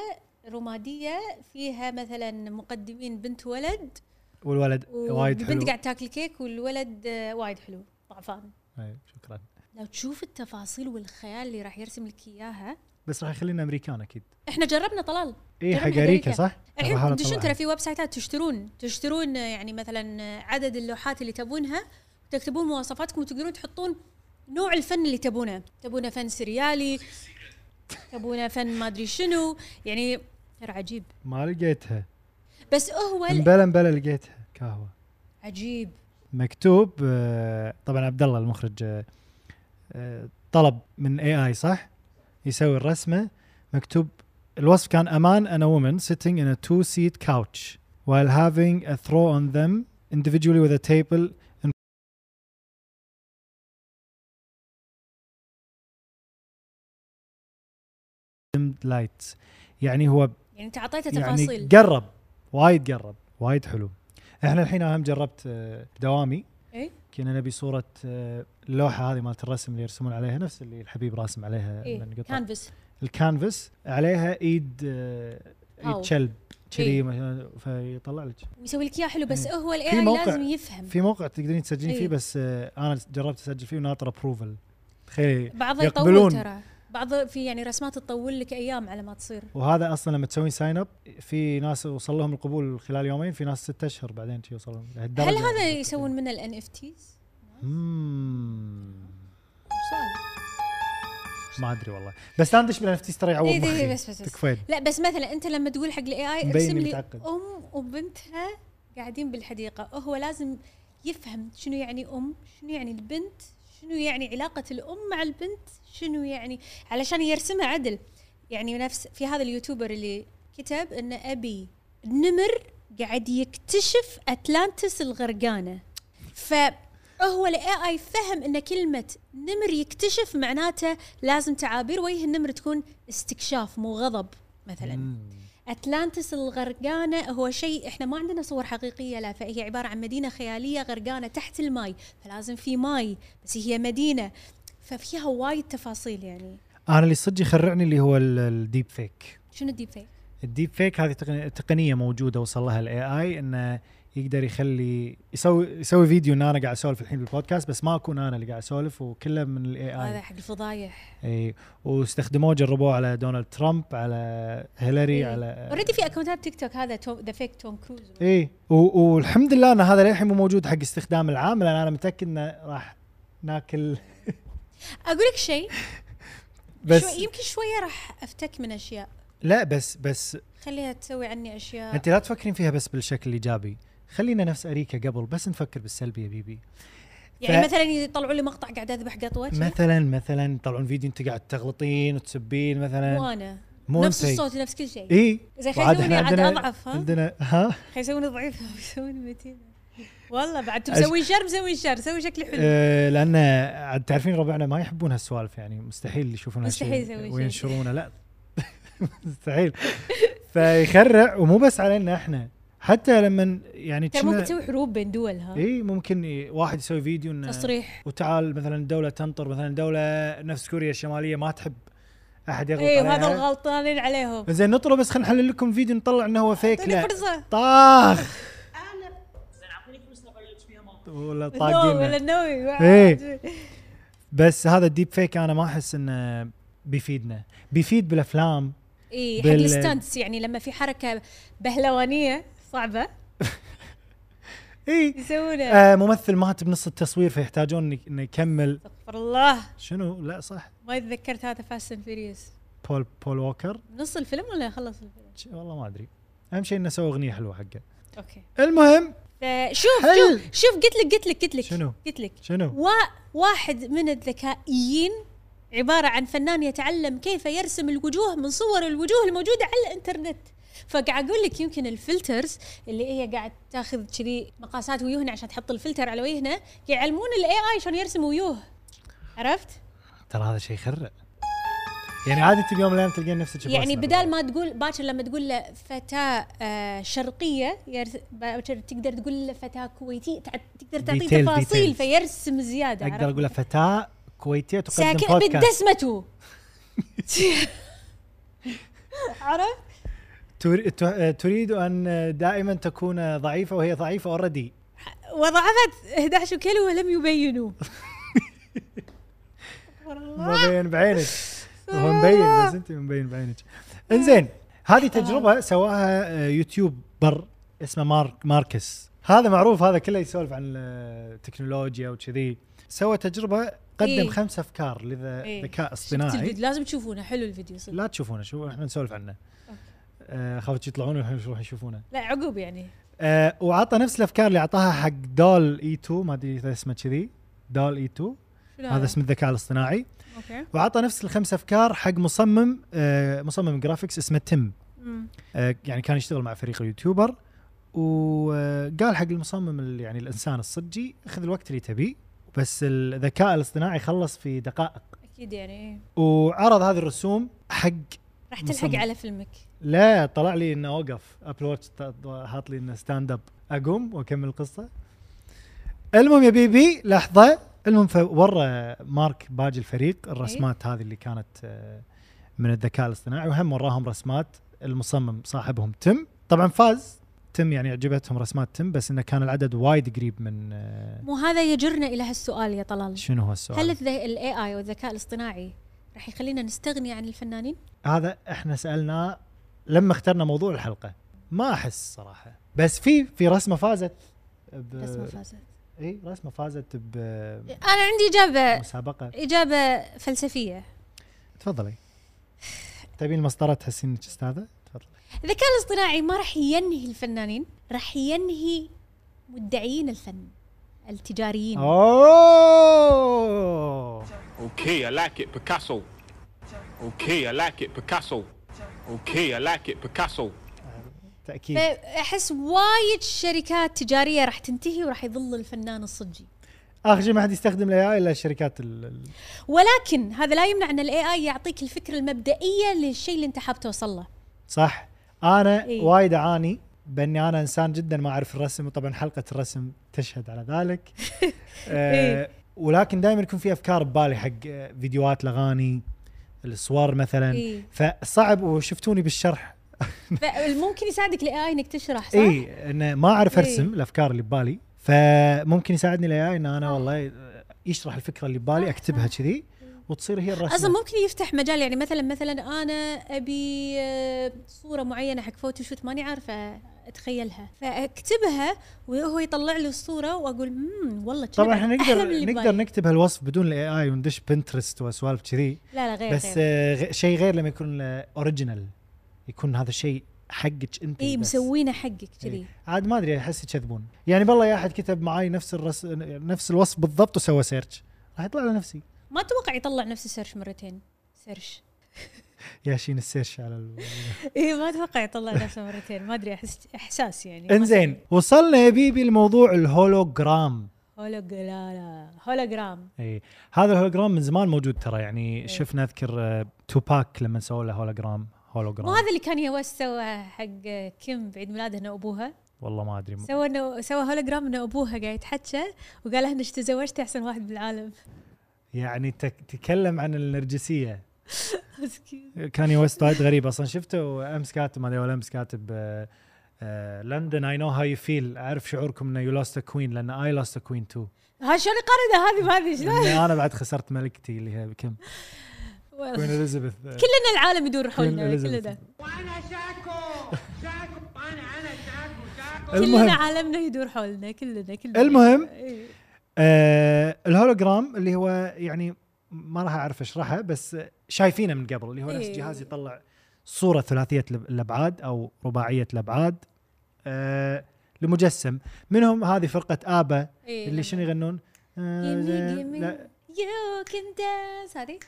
A: رماديه فيها مثلا مقدمين بنت ولد
B: والولد وايد حلو
A: والبنت قاعد تاكل كيك والولد آه، وايد حلو ضعفان
B: أي، شكرا
A: لو تشوف التفاصيل والخيال اللي راح يرسم لك اياها
B: بس راح يخلينا امريكان اكيد
A: احنا جربنا طلال
B: اي
A: جربنا
B: حق اريكا صح؟ راح
A: الحين تدشون
B: أطلعها.
A: يعني ترى في ويب سايتات تشترون تشترون آه، يعني مثلا آه، عدد اللوحات اللي تبونها تكتبون مواصفاتكم وتقدرون تحطون نوع الفن اللي تبونه تبونه فن سريالي تبونه فن ما ادري شنو يعني ترى عجيب
B: ما لقيتها
A: بس هو ال-
B: مبلا مبلا لقيتها قهوه
A: عجيب
B: مكتوب آه، طبعا عبد الله المخرج آه، آه، طلب من اي اي صح يسوي الرسمه مكتوب الوصف كان a man and a woman sitting in a two seat couch while having a throw on them individually with a table in dimmed lights يعني هو
A: يعني انت اعطيته
B: يعني
A: تفاصيل
B: قرب وايد قرب وايد حلو احنا الحين اهم جربت آه، دوامي
A: إيه؟
B: كنا نبي صوره آه، اللوحه هذه مالت الرسم اللي يرسمون عليها نفس اللي الحبيب راسم عليها من
A: إيه؟
B: قطع
A: كانفاس
B: الكانفاس عليها ايد آه،
A: هاو.
B: ايد كلب كذي
A: إيه.
B: مثلاً، فيطلع لك
A: ويسوي لك اياه حلو بس
B: إيه.
A: هو الاي
B: في
A: اي
B: موقع-
A: لازم يفهم
B: في موقع تقدرين تسجلين
A: إيه.
B: فيه بس آه، انا جربت اسجل فيه وناطر ابروفل تخيلي
A: بعضها يطول
B: يقبلون
A: ترى بعض في يعني رسمات تطول لك ايام على ما تصير
B: وهذا اصلا لما تسوين ساين اب في ناس وصل لهم القبول خلال يومين في ناس ستة اشهر بعدين شي يوصل لهم لهالدرجة.
A: هل هذا يسوون منه الان اف تيز؟
B: مم. ما ادري والله بس لا ندش بالنفتيس ترى يعوض
A: إيه، إيه،
B: مخي
A: بس- بس- بس.
B: تكفين
A: لا بس مثلا انت لما تقول حق الاي اي
B: طيب. مبين
A: ارسم لي
B: متعقد.
A: ام وبنتها قاعدين بالحديقه هو لازم يفهم شنو يعني ام شنو يعني البنت شنو يعني علاقه الام مع البنت شنو يعني علشان يرسمها عدل يعني نفس في هذا اليوتيوبر اللي كتب ان ابي نمر قاعد يكتشف اتلانتس الغرقانه فهو الاي اي فهم ان كلمه نمر يكتشف معناته لازم تعابير وجه النمر تكون استكشاف مو غضب مثلا اتلانتس الغرقانه هو شيء احنا ما عندنا صور حقيقيه له فهي عباره عن مدينه خياليه غرقانه تحت الماي فلازم في ماي بس هي مدينه ففيها وايد تفاصيل يعني
B: انا اللي صدق يخرعني اللي هو ال- الديب فيك
A: شنو الديب فيك؟
B: الديب فيك هذه تقن- تقنيه موجوده وصل لها الاي اي انه يقدر يخلي يسوي يسوي فيديو ان انا قاعد اسولف الحين بالبودكاست بس ما اكون انا اللي قاعد اسولف وكله من
A: هذا
B: الاي
A: حق الفضايح
B: اي واستخدموه جربوه على دونالد ترامب على هيلاري على
A: اوريدي في اكونتات تيك توك هذا توم ذا فيك توم كروز
B: ايه و- والحمد لله ان هذا للحين مو موجود حق استخدام العام لان انا متاكد انه راح ناكل
A: اقول لك شيء
B: بس
A: شوي يمكن شويه راح افتك من اشياء
B: لا بس بس
A: خليها تسوي عني اشياء
B: انت لا تفكرين فيها بس بالشكل الايجابي خلينا نفس اريكا قبل بس نفكر بالسلبي يا بيبي
A: يعني
B: ف-
A: مثلا يطلعوا لي مقطع قاعد اذبح قطوه
B: مثلا مثلا يطلعون فيديو انت قاعد تغلطين وتسبين مثلا
A: وانا
B: مو
A: نفس
B: أنتي.
A: الصوت نفس كل شيء
B: اي
A: زي
B: وعاد
A: خلوني
B: إحنا
A: عاد
B: عندنا-
A: أضعف، ها؟
B: عندنا ها
A: يسووني ضعيفه ويسووني متينه والله بعد تسوي شر مسوي شر سوي شكلي حلو
B: آه، لان عاد تعرفين ربعنا ما يحبون هالسوالف يعني مستحيل يشوفون هالشيء
A: مستحيل يسوي شيء.
B: وينشرونه لا مستحيل فيخرع ومو بس علينا احنا حتى لما يعني
A: ترى ممكن تسوي حروب بين دول ها
B: اي ممكن ي- واحد يسوي فيديو انه
A: تصريح
B: وتعال مثلا دوله تنطر مثلا دوله نفس كوريا الشماليه ما تحب احد يغلط
A: اي إيه، وهذا
B: عليها.
A: الغلطانين عليهم طيب،
B: زين نطلع بس خلينا نحلل لكم فيديو نطلع انه هو فيك
A: اعطيني
B: لا
A: فرصه
B: طاخ ولا
A: نووي ولا
B: طاقين
A: نووي
B: إيه. بس هذا الديب فيك انا ما احس انه بيفيدنا بيفيد بالافلام
A: اي إيه، حق
B: بال-
A: الستانتس يعني لما في حركه بهلوانيه صعبه إيه.
B: اي
A: يسوونها
B: آه ممثل مات بنص التصوير فيحتاجون إن- إنه يكمل
A: استغفر الله
B: شنو لا صح
A: ما تذكرت هذا فاست اند فيريوس
B: بول بول ووكر
A: نص الفيلم ولا خلص الفيلم؟
B: ش- والله ما ادري اهم شيء انه سوى اغنيه حلوه حقه
A: اوكي
B: المهم
A: فشوف
B: حل.
A: آه، شوف شوف قلت لك قلت لك قلت لك
B: شنو؟
A: قلت لك
B: شنو
A: و... واحد من الذكائيين عبارة عن فنان يتعلم كيف يرسم الوجوه من صور الوجوه الموجودة على الإنترنت فقاعد أقول لك يمكن الفلترز اللي هي قاعد تاخذ كذي مقاسات ويوهنا عشان تحط الفلتر على وجهنا يعلمون الاي اي شلون يرسم ويوه عرفت؟
B: ترى هذا شيء يخرع يعني عادي انت بيوم من الايام تلقين نفسك
A: يعني
B: براسنا
A: بدال ما تقول باكر لما تقول له فتاة آه، شرقية يرس- باكر تقدر تقول له فتاة كويتية تع- تقدر تعطيه
B: Detail-
A: تفاصيل
B: details.
A: فيرسم زيادة
B: اقدر
A: عرفت؟
B: اقول لها فتاه كويتيه تقدم
A: ساكن
B: بودكاست
A: بالدسمة عرفت؟
B: تر- ت- تريد ان دائما تكون ضعيفه وهي ضعيفه اوريدي
A: وضعفت 11 كيلو ولم يبينوا
B: ما بين بعينك هو مبين بس انت مبين بعينك انزين هذه تجربه سواها آه، يوتيوب بر اسمه مارك ماركس هذا معروف هذا كله يسولف عن التكنولوجيا وكذي سوى تجربه قدم
A: إيه.
B: خمس افكار
A: إيه.
B: لذكاء
A: شفت
B: اصطناعي
A: الفيديو لازم تشوفونه حلو الفيديو صدق
B: لا تشوفونه شو احنا نسولف عنه آه، خافت يطلعون الحين يروحون يشوفونه
A: لا عقب يعني
B: آه، وعطى نفس الافكار اللي اعطاها حق دول اي 2 ما ادري إذا اسمه كذي دول اي 2
A: شنو
B: هذا اسم الذكاء الاصطناعي
A: اوكي
B: وعطى نفس الخمس افكار حق مصمم آه، مصمم جرافيكس اسمه تيم
A: مم.
B: آه، يعني كان يشتغل مع فريق اليوتيوبر وقال حق المصمم ال- يعني الانسان الصجي خذ الوقت اللي تبيه بس الذكاء الاصطناعي خلص في دقائق
A: اكيد يعني إيه.
B: وعرض هذه الرسوم حق
A: راح
B: مصمم.
A: تلحق على فيلمك
B: لا طلع لي انه اوقف ابل واتش ط- حاط لي انه ستاند اب اقوم واكمل القصه المهم يا بيبي لحظه المهم فورى مارك باج الفريق الرسمات هذه اللي كانت آه، من الذكاء الاصطناعي وهم وراهم رسمات المصمم صاحبهم تم طبعا فاز تم يعني عجبتهم رسمات تم بس انه كان العدد وايد قريب من آه،
A: مو هذا يجرنا الى هالسؤال يا طلال
B: شنو هو
A: هل
B: السؤال؟
A: الاي اي والذكاء الاصطناعي راح يخلينا نستغني عن الفنانين؟
B: هذا احنا سالناه لما اخترنا موضوع الحلقه ما احس صراحه بس في في رسمه فازت ب-
A: بس ما فازت
B: اي رسمه فازت بمسابقه
A: انا عندي اجابه اجابه فلسفيه
B: تفضلي تبين المسطره تحسين انك استاذه تفضلي
A: الذكاء الاصطناعي ما راح ينهي الفنانين راح ينهي مدعيين الفن التجاريين
B: اوه
D: Okay, I like it, Picasso. Okay, I like it, Picasso. Okay, I like it, Picasso.
B: تاكيد
A: طيب. فاحس وايد شركات تجاريه راح تنتهي وراح يظل الفنان الصجي
B: اخر شيء ما حد يستخدم الاي اي الا الشركات ال- ال-
A: ولكن هذا لا يمنع ان الاي اي يعطيك الفكره المبدئيه للشيء اللي انت حاب توصل له
B: صح انا
A: إي.
B: وايد اعاني باني انا انسان جدا ما اعرف الرسم وطبعا حلقه الرسم تشهد على ذلك آه
A: إي.
B: ولكن دائما يكون في افكار ببالي حق آه، فيديوهات الاغاني الصور مثلا
A: إي.
B: فصعب وشفتوني بالشرح
A: فممكن يساعدك الاي اي انك تشرح صح؟ إيه.
B: اي انه إيه، ما اعرف
A: إي.
B: ارسم الافكار اللي ببالي فممكن يساعدني الاي ان
A: آه.
B: انا والله يشرح الفكره اللي ببالي اكتبها كذي وتصير هي الرسمه
A: اصلا ممكن يفتح مجال يعني مثلا مثلا انا ابي آه، صوره معينه حق فوتوشوت ماني عارفه اتخيلها فاكتبها وهو يطلع لي الصوره واقول امم والله
B: طبعا
A: كذا
B: احنا
A: أحلى من
B: نقدر
A: اللي
B: نقدر
A: ببالي."
B: نكتب هالوصف بدون الاي اي وندش بنترست وسوالف كذي
A: لا لا إيه، غير
B: بس
A: بس
B: آه، غ- شيء غير لما يكون اوريجينال يكون هذا الشيء حقك انت
A: اي
B: بس.
A: مسوينه حقك إيه، كذي
B: إي. عاد ما ادري احس يكذبون يعني بالله يا احد كتب معاي نفس الرس... نفس الوصف بالضبط وسوى سيرش راح يطلع على نفسي
A: ما اتوقع يطلع نفس السيرش مرتين سيرش
B: ياشين السيرش على ال...
A: إيه، اي ما اتوقع يطلع نفسه مرتين ما ادري احس احساس يعني
B: انزين وصلنا يا بيبي لموضوع الهولوجرام
A: هولوج لا لا هولوجرام
B: اي إيه، هذا الهولوجرام من زمان موجود ترى
A: إيه.
B: يعني شفنا اذكر آه، توباك لما سووا له هولوجرام
A: مو
B: هولوجرام
A: هذا اللي كان يوس سوى حق كيم بعيد ميلاده انه ابوها
B: والله ما ادري
A: سوى انه سوى هولوجرام انه ابوها قاعد يتحكى وقال لها انك تزوجت احسن واحد بالعالم
B: يعني تك- تكلم عن النرجسيه
A: مسكين
B: كاني ويست وايد غريب اصلا شفته امس كاتب ما ادري ولا امس كاتب آه، آه، لندن اي نو هاو يو فيل اعرف شعوركم انه يو لوست كوين لان اي لوست كوين تو
A: ها شلون قردة هذه ما ادري شلون
B: انا بعد خسرت ملكتي اللي هي كم كوين اليزابيث آه،
A: كلنا العالم يدور
B: Queen
A: حولنا
B: Elizabeth.
A: كلنا
F: وانا شاكو شاكو انا انا شاكو شاكو
A: كلنا
B: المهم
A: عالمنا يدور حولنا كلنا كلنا
B: المهم
A: إيه.
B: آه الهولوجرام اللي هو يعني ما راح اعرف اشرحه بس شايفينه من قبل اللي هو نفس
A: إيه.
B: جهاز يطلع صوره ثلاثيه الأب- الابعاد او رباعيه الابعاد آه لمجسم منهم هذه فرقه ابا
A: إيه،
B: اللي شنو يغنون؟
A: Gimme,
B: آه
A: gimme.
B: لا
A: يو كان دانس هذه
B: إيه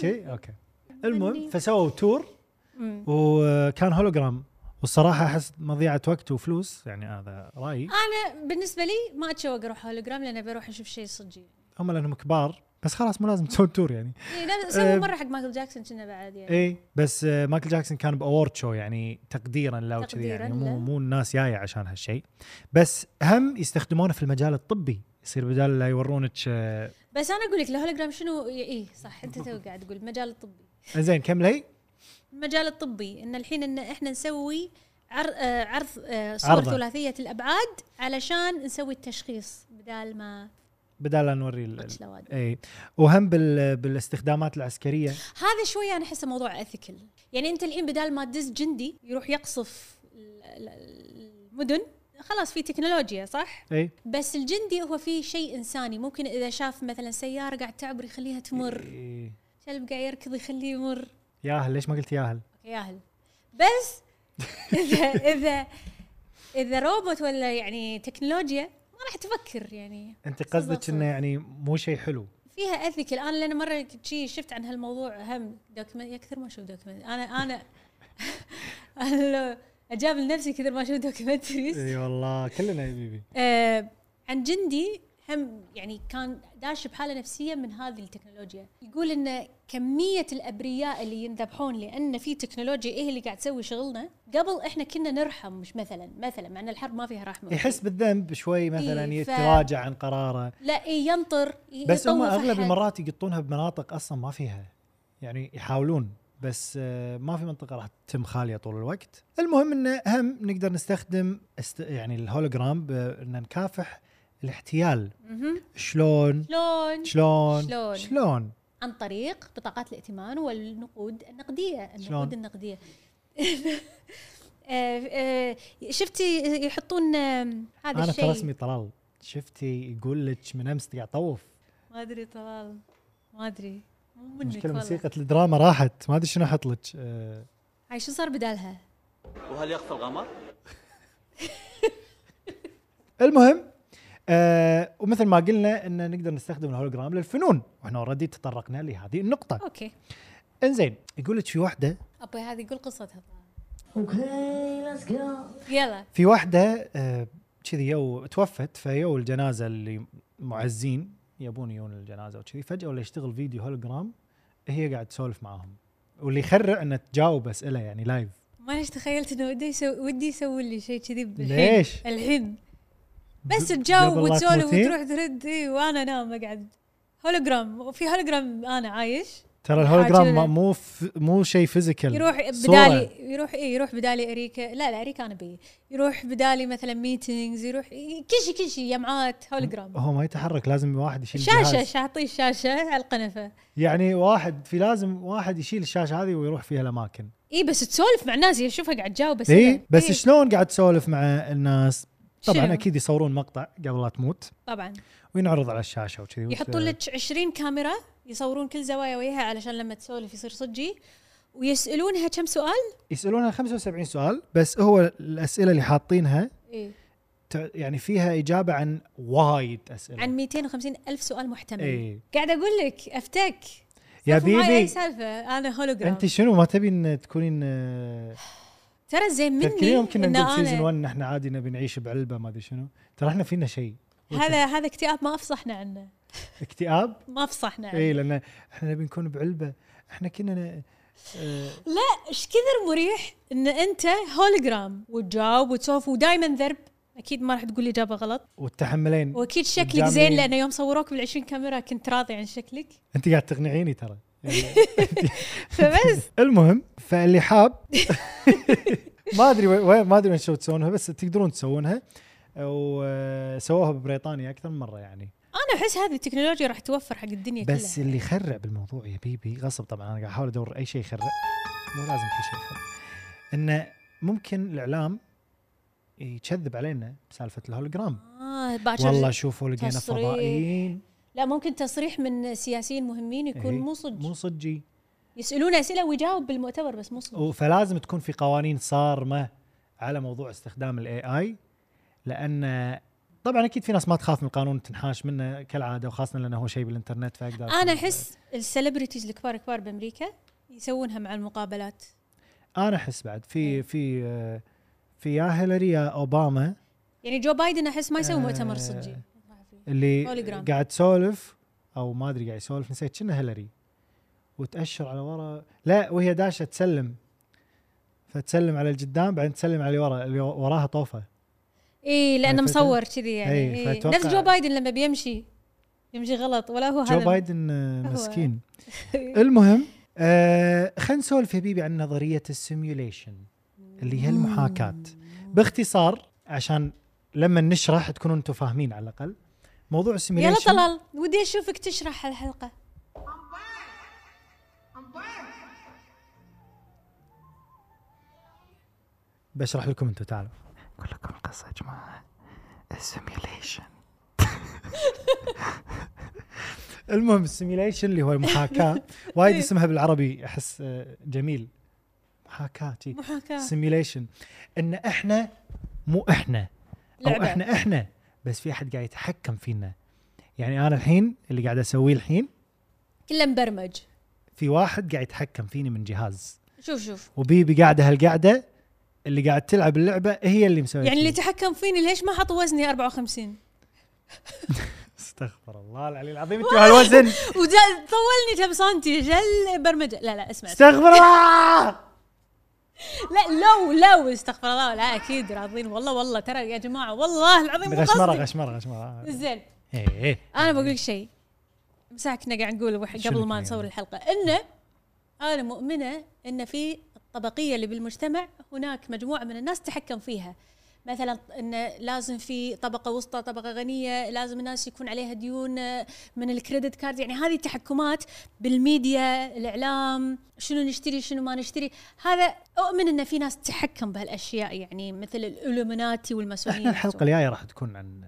A: طيب.
B: شي؟ اوكي
A: غني.
B: المهم فسووا تور وكان هولوجرام والصراحه احس مضيعه وقت وفلوس يعني هذا رايي
A: انا بالنسبه لي ما اتشوق اروح هولوجرام لان بروح اشوف شيء إيه، صجي
B: هم لانهم كبار بس خلاص مو لازم تسوون تور يعني
A: إيه، لا، سووا
B: أه.
A: مره حق مايكل جاكسون كنا بعد يعني
B: اي بس آه، مايكل جاكسون كان باورد شو يعني تقديرا له وكذي
A: تقديراً
B: يعني
A: له.
B: مو مو الناس جايه عشان هالشيء بس هم يستخدمونه في المجال الطبي يصير بدال لا يورونك آه،
A: بس انا اقول لك الهولوجرام شنو اي صح انت تو قاعد تقول المجال الطبي
B: زين كملي
A: المجال الطبي ان الحين ان احنا نسوي عر... آه، عرض آه، صور
B: عرضة.
A: ثلاثيه الابعاد علشان نسوي التشخيص بدال ما
B: بدال لا نوري ال-
A: واتش لواد.
B: اي وهم بال بالاستخدامات العسكريه
A: هذا شويه انا احسه موضوع اثيكل يعني انت الحين بدال ما تدز جندي يروح يقصف ال- ال- المدن خلاص في تكنولوجيا صح
B: اي
A: بس الجندي هو في شيء انساني ممكن اذا شاف مثلا سياره قاعد تعبر يخليها تمر
B: إي.
A: كلب قاعد يركض يخليه يمر
B: إيه. ياهل ليش ما قلت ياهل؟
A: ياهل بس اذا اذا اذا روبوت ولا يعني تكنولوجيا ما راح تفكر يعني
B: انت
A: صدق
B: قصدك
A: صدق.
B: انه يعني مو شيء حلو
A: فيها اثيكال انا لان مره شي شفت عن هالموضوع هم دوكيمنت يا كثر ما اشوف دوكيمنت انا انا أنا لو اجاب لنفسي كثر ما اشوف دوكيومنتريز
B: اي والله كلنا يا بيبي
A: آه عن جندي هم يعني كان داش بحاله نفسيه من هذه التكنولوجيا يقول ان كميه الابرياء اللي ينذبحون لان في تكنولوجيا هي إيه اللي قاعد تسوي شغلنا قبل احنا كنا نرحم مش مثلا مثلا مع ان الحرب ما فيها رحمه
B: يحس بالذنب شوي مثلا
A: إي، ف-
B: يتراجع عن قراره
A: لا إيه ينطر ي-
B: بس هم
A: يطوف
B: اغلب
A: أحد.
B: المرات يقطونها بمناطق اصلا ما فيها يعني يحاولون بس آه، ما في منطقه راح تتم خاليه طول الوقت المهم انه هم نقدر نستخدم است يعني الهولوجرام بان نكافح الاحتيال
A: مهم.
B: شلون
A: شلون
B: شلون
A: شلون؟
B: شلون
A: عن طريق بطاقات الائتمان والنقود النقديه
B: شلون؟
A: النقود النقديه آه، آه، شفتي يحطون آم، هذا
B: انا في
A: الشيء
B: رسمي طلال شفتي يقول لك من امس قاعد طوف
A: ما ادري طلال ما ادري مو منك
B: مشكله
A: والله
B: موسيقى الدراما راحت ما ادري شنو احط لك آه،
A: هاي شو صار بدالها؟
G: وهل يخفى الغمر؟
B: المهم آه ومثل ما قلنا ان نقدر نستخدم الهولوجرام للفنون واحنا اوريدي تطرقنا لهذه النقطه
A: اوكي
B: انزين يقول لك في واحده
A: ابوي هذه يقول قصتها
E: Okay, let's go.
A: يلا
B: في واحده آه، كذي يو توفت فيو الجنازه اللي معزين يبون يجون الجنازه وكذي فجاه ولا يشتغل فيديو هولوجرام هي قاعد تسولف معاهم واللي يخرع انه تجاوب اسئله يعني لايف
A: ما ليش تخيلت انه ودي يسوي ودي يسوي لي شيء كذي الحين
B: ليش؟
A: الحين بس
B: ب-
A: تجاوب
B: قبل لا
A: وتسولف
B: تموتين؟
A: وتروح ترد إي، وانا نام اقعد هولوجرام وفي هولوجرام انا عايش
B: ترى الهولوجرام
A: عاجلة.
B: ما- مو ف... مو شيء فيزيكال
A: يروح بدالي يروح اي يروح بدالي اريكا لا لا اريكا انا بي يروح بدالي مثلا ميتينجز يروح إي، كل شيء كل شيء يمعات هولوجرام
B: هو ما يتحرك لازم واحد يشيل
A: شاشه
B: الجهاز.
A: شاطيه شاشه على القنفه
B: يعني واحد في لازم واحد يشيل الشاشه هذه ويروح فيها الاماكن
A: اي بس تسولف مع ناس يشوفها قاعد تجاوب بس
B: اي إيه؟ بس شلون قاعد تسولف مع الناس طبعا
A: إيه. شنو؟
B: اكيد يصورون مقطع قبل لا تموت
A: طبعا
B: وينعرض على الشاشه وكذي
A: يحطون لك 20 كاميرا يصورون كل زوايا وجهها علشان لما تسولف يصير صجي ويسالونها كم سؤال
B: يسالونها 75 سؤال بس هو الاسئله اللي حاطينها
A: إيه؟
B: تع- يعني فيها اجابه عن وايد اسئله
A: عن 250 الف سؤال محتمل
B: إيه.
A: قاعد اقول لك افتك
B: يا
A: سولفوا معي اي
B: بيبي
A: سالفه انا هولوجرام
B: انت شنو ما تبين تكونين آه،
A: ترى زين مني
B: تذكرين يوم كنا
A: إن
B: نقول
A: أنا-
B: سيزون 1 احنا عادي نبي نعيش بعلبه ما ادري شنو ترى احنا فينا شيء
A: هذا هذا اكتئاب ما افصحنا عنه
B: اكتئاب
A: ما افصحنا عنه
B: اي لان احنا نبي نكون بعلبه احنا كنا ن-
A: لا ايش كثر مريح ان انت هولوجرام وتجاوب وتسولف ودائما ذرب اكيد ما راح تقول اجابه غلط
B: والتحملين
A: واكيد شكلك
B: قدامي-
A: زين لانه يوم صوروك بال20 كاميرا كنت راضي عن شكلك
B: انت قاعد تقنعيني ترى
A: فبس
B: المهم فاللي حاب ما ادري وين- وين ما ادري وين شو تسوونها بس تقدرون تسوونها وسووها ببريطانيا اكثر من مره يعني
A: انا احس هذه التكنولوجيا راح توفر حق الدنيا
B: بس
A: كلها
B: اللي خرب الموضوع يا بيبي غصب طبعا انا قاعد احاول ادور اي شيء يخرب مو لازم كل شيء يخرب انه ممكن الاعلام يكذب علينا بسالفه الهولوجرام
A: اه باكر
B: والله شوفوا لقينا
A: تصريح.
B: فضائيين
A: لا ممكن تصريح من سياسيين مهمين يكون
B: إيه،
A: مو صدق
B: مو صجي
A: يسالون اسئله ويجاوب بالمؤتمر بس مو صدق
B: و- فلازم تكون في قوانين صارمه على موضوع استخدام الاي اي لان طبعا اكيد في ناس ما تخاف من القانون تنحاش منه كالعاده وخاصه لانه هو شيء بالانترنت فاقدر
A: انا احس السليبرتيز الكبار كبار بامريكا يسوونها مع المقابلات
B: انا احس بعد في في آه، في يا هيلاري يا اوباما
A: يعني جو بايدن احس ما يسوي مؤتمر
B: آه.
A: صجي
B: اللي
A: هولوجرام.
B: قاعد تسولف او ما ادري قاعد يسولف نسيت شنو هيلاري وتاشر على ورا لا وهي داشه تسلم فتسلم على القدام بعدين تسلم على اللي ورا اللي وراها طوفه
A: اي لانه
B: عرفت؟
A: إيه، مصور كذي يعني
B: إيه،
A: إيه.
B: فأتوقع-
A: نفس جو بايدن لما بيمشي يمشي غلط ولا هو
B: جو
A: هذا
B: بايدن آه، مسكين المهم آه خلينا نسولف يا بيبي عن نظريه السيميوليشن اللي هي المحاكاه باختصار عشان لما نشرح تكونوا انتم فاهمين على الاقل موضوع
A: يلا
B: السيميوليشن
A: طلال ودي اشوفك تشرح الحلقه
F: I'm back. I'm back.
B: بشرح لكم انتم تعالوا
H: اقول لكم القصه يا جماعه السيميوليشن
B: المهم السيميوليشن اللي هو المحاكاه وايد اسمها بالعربي احس آه، جميل محاكاه
A: محاكاة.
B: سيميوليشن ان احنا مو احنا او
A: لعبة.
B: احنا احنا بس في احد قاعد يتحكم فينا يعني انا الحين اللي قاعد اسويه الحين
A: كله مبرمج
B: في واحد قاعد يتحكم فيني من جهاز
A: شوف شوف
B: وبيبي قاعده هالقعده اللي قاعد تلعب اللعبه هي اللي مسويه
A: يعني اللي
B: فيه.
A: تحكم فيني ليش ما حطوا وزني 54
B: استغفر الله العلي العظيم انت هالوزن
A: وجا- طولني كم سنتي جل برمجه لا لا اسمع
B: استغفر الله
A: لا لو لو استغفر الله لا اكيد راضين والله والله ترى يا جماعه والله العظيم مو
B: غشمره
A: قصدي.
B: غشمره غشمره
A: زين
B: إيه، ايه
A: انا بقول لك شيء مساء كنا قاعد نقول وح-
B: شنو
A: قبل
B: كنا
A: ما نصور
B: يعني؟
A: الحلقه انه انا مؤمنه ان في الطبقيه اللي بالمجتمع هناك مجموعه من الناس تحكم فيها مثلا انه لازم في طبقه وسطى طبقه غنيه لازم الناس يكون عليها ديون آه، من الكريدت كارد يعني هذه التحكمات بالميديا الاعلام شنو نشتري شنو ما نشتري هذا اؤمن ان في ناس تحكم بهالاشياء يعني مثل الالومناتي والماسونيه
B: احنا الحلقه الجايه راح تكون عن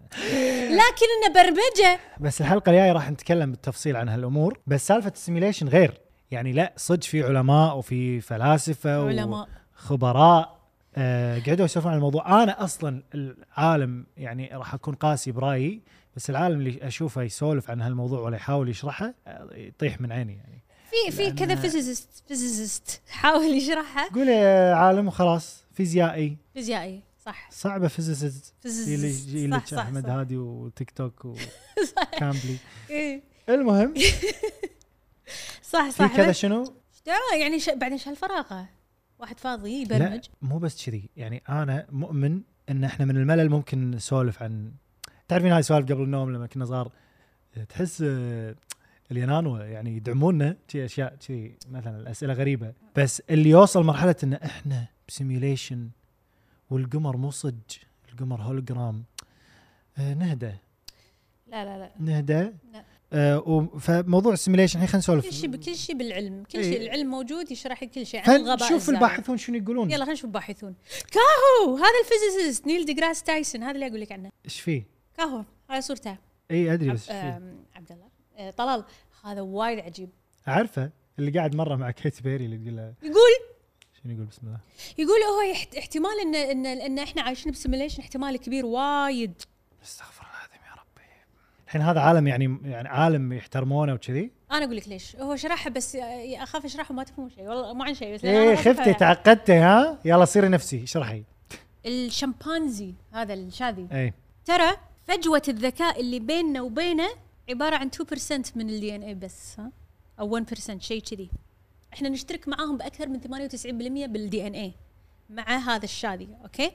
A: لكن انه برمجه
B: بس الحلقه الجايه راح نتكلم بالتفصيل عن هالامور بس سالفه السيميليشن غير يعني لا صدق في علماء وفي فلاسفه
A: علماء.
B: وخبراء آه قعدوا يسولفون عن الموضوع انا اصلا العالم يعني راح اكون قاسي برايي بس العالم اللي اشوفه يسولف عن هالموضوع ولا يحاول يشرحه آه، يطيح من عيني يعني
A: في في كذا فيزيست فيزيست حاول يشرحها
B: قول يا عالم وخلاص فيزيائي
A: فيزيائي صح
B: صعبه فيزيست
A: physicist.
B: اللي يجي لك
A: صح، صح،
B: احمد
A: صح.
B: هادي وتيك توك وكامبلي
A: إيه،
B: المهم
A: صح
B: في
A: صح
B: كذا
A: بس
B: شنو
A: دعوة يعني ش... بعدين شال فراغه واحد فاضي
B: لا
A: يبرمج
B: مو بس كذي يعني انا مؤمن ان احنا من الملل ممكن نسولف عن تعرفين هاي سوالف قبل النوم لما كنا صغار تحس آه، اليونان يعني يدعمونا شي اشياء شي مثلا اسئله غريبه بس اللي يوصل مرحله ان احنا بسيميوليشن والقمر مو صج القمر هولوجرام آه، نهدى
A: لا لا لا
B: نهدى آه، و- فموضوع السيميوليشن الحين خلينا
A: كل شيء
B: نسولف
A: كل شيء بالعلم كل
B: إيه.
A: شيء العلم موجود يشرح لك كل شيء عن
B: خلينا
A: الغباء
B: نشوف
A: الزائد.
B: الباحثون شنو يقولون
A: يلا خلينا نشوف الباحثون كاهو هذا الفيزيست نيل دي جراس تايسون هذا اللي اقول لك عنه
B: ايش فيه؟
A: كاهو هاي صورته
B: اي ادري
A: عب...
B: بس إيش فيه؟
A: آم، عبد الله آه، طلال هذا وايد عجيب
B: اعرفه اللي قاعد مره مع كيت بيري اللي تقول له
A: يقول
B: شنو يقول بسم الله
A: يقول هو يحت... احتمال ان ان ان احنا عايشين بسيميليشن احتمال كبير وايد
B: استغفر الله العظيم يا ربي الحين هذا عالم يعني يعني عالم يحترمونه وكذي
A: انا اقول لك ليش هو شرحها بس اخاف اشرحه ما تفهمون شيء والله مو عن شيء بس لأن أنا
B: ايه
A: ما أفهم.
B: خفتي تعقدتي ها يلا صيري نفسي اشرحي
A: الشمبانزي هذا الشاذي
B: اي
A: ترى فجوه الذكاء اللي بيننا وبينه عباره عن 2% من الدي ان اي بس ها او 1% شيء كذي احنا نشترك معاهم باكثر من 98% بالدي ان اي مع هذا الشاذي اوكي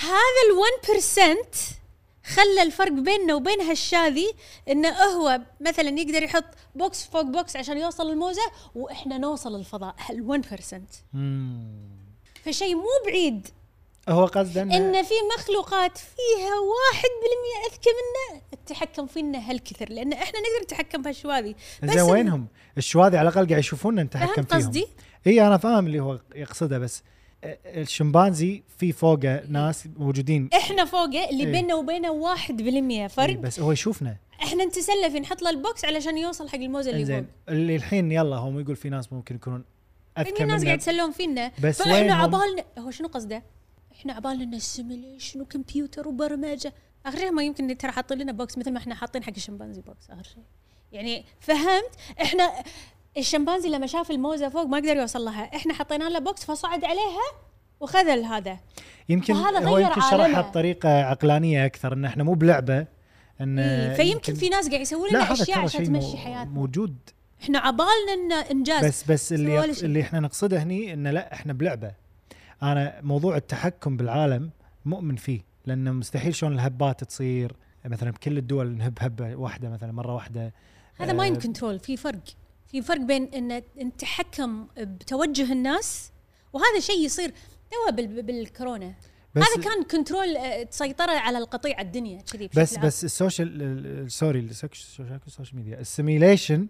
A: هذا ال 1% خلى الفرق بيننا وبين هالشاذي انه هو مثلا يقدر يحط بوكس فوق بوكس عشان يوصل الموزه واحنا نوصل الفضاء هال 1%
B: مم.
A: فشيء مو بعيد
B: هو قصده انه
A: ان في مخلوقات فيها واحد بالمية اذكى منا تتحكم فينا هالكثر لان احنا نقدر نتحكم بهالشواذي
B: زين
A: إن-
B: وينهم؟ الشواذي على الاقل قاعد يشوفونا نتحكم
A: فهمت
B: فيهم
A: قصدي؟
B: اي انا فاهم اللي هو يقصده بس الشمبانزي في فوقه ناس موجودين
A: احنا فوقه اللي
B: إيه.
A: بيننا وبينه واحد بالمية
B: إي،
A: فرق
B: بس هو يشوفنا
A: احنا نتسلى في نحط له البوكس علشان يوصل حق الموزه اللي فوق
B: زين اللي الحين يلا هم يقول في ناس ممكن يكونون
A: في
B: اذكى
A: ناس قاعد
B: منا
A: يتسلون فينا
B: بس
A: فاحنا
B: وينهم؟
A: عبالنا هو شنو قصده؟ احنا عبالنا انه simulation وكمبيوتر وبرمجه اخر شيء ما يمكن إن ترى حاطين لنا بوكس مثل ما احنا حاطين حق الشمبانزي بوكس اخر شيء يعني فهمت احنا الشمبانزي لما شاف الموزه فوق ما قدر يوصل لها احنا حطينا له بوكس فصعد عليها وخذ هذا
B: يمكن
A: وهذا
B: هو
A: غير
B: يمكن شرحها
A: عالمه.
B: بطريقه عقلانيه اكثر ان احنا مو بلعبه ان
A: إيه، فيمكن في ناس قاعد يسوون
B: لا
A: لنا
B: هذا
A: اشياء
B: ترى
A: عشان
B: شيء
A: تمشي
B: مو-
A: حياتنا
B: موجود
A: احنا عبالنا ان انجاز
B: بس بس اللي
A: ولا
B: يق-
A: شيء.
B: اللي احنا نقصده هني انه لا احنا بلعبه انا موضوع التحكم بالعالم مؤمن فيه لانه مستحيل شلون الهبات تصير مثلا بكل الدول نهب هبه واحده مثلا مره واحده
A: هذا
B: آه،
A: مايند كنترول في فرق في فرق بين ان انت تحكم بتوجه الناس وهذا شيء يصير توا بال- بالكورونا
B: بس
A: هذا كان كنترول آه، سيطره على القطيع الدنيا كذي بشكل
B: بس
A: عام.
B: بس السوشيال ال- ال- سوري السوش- السوشيال السوشيال ميديا السيميليشن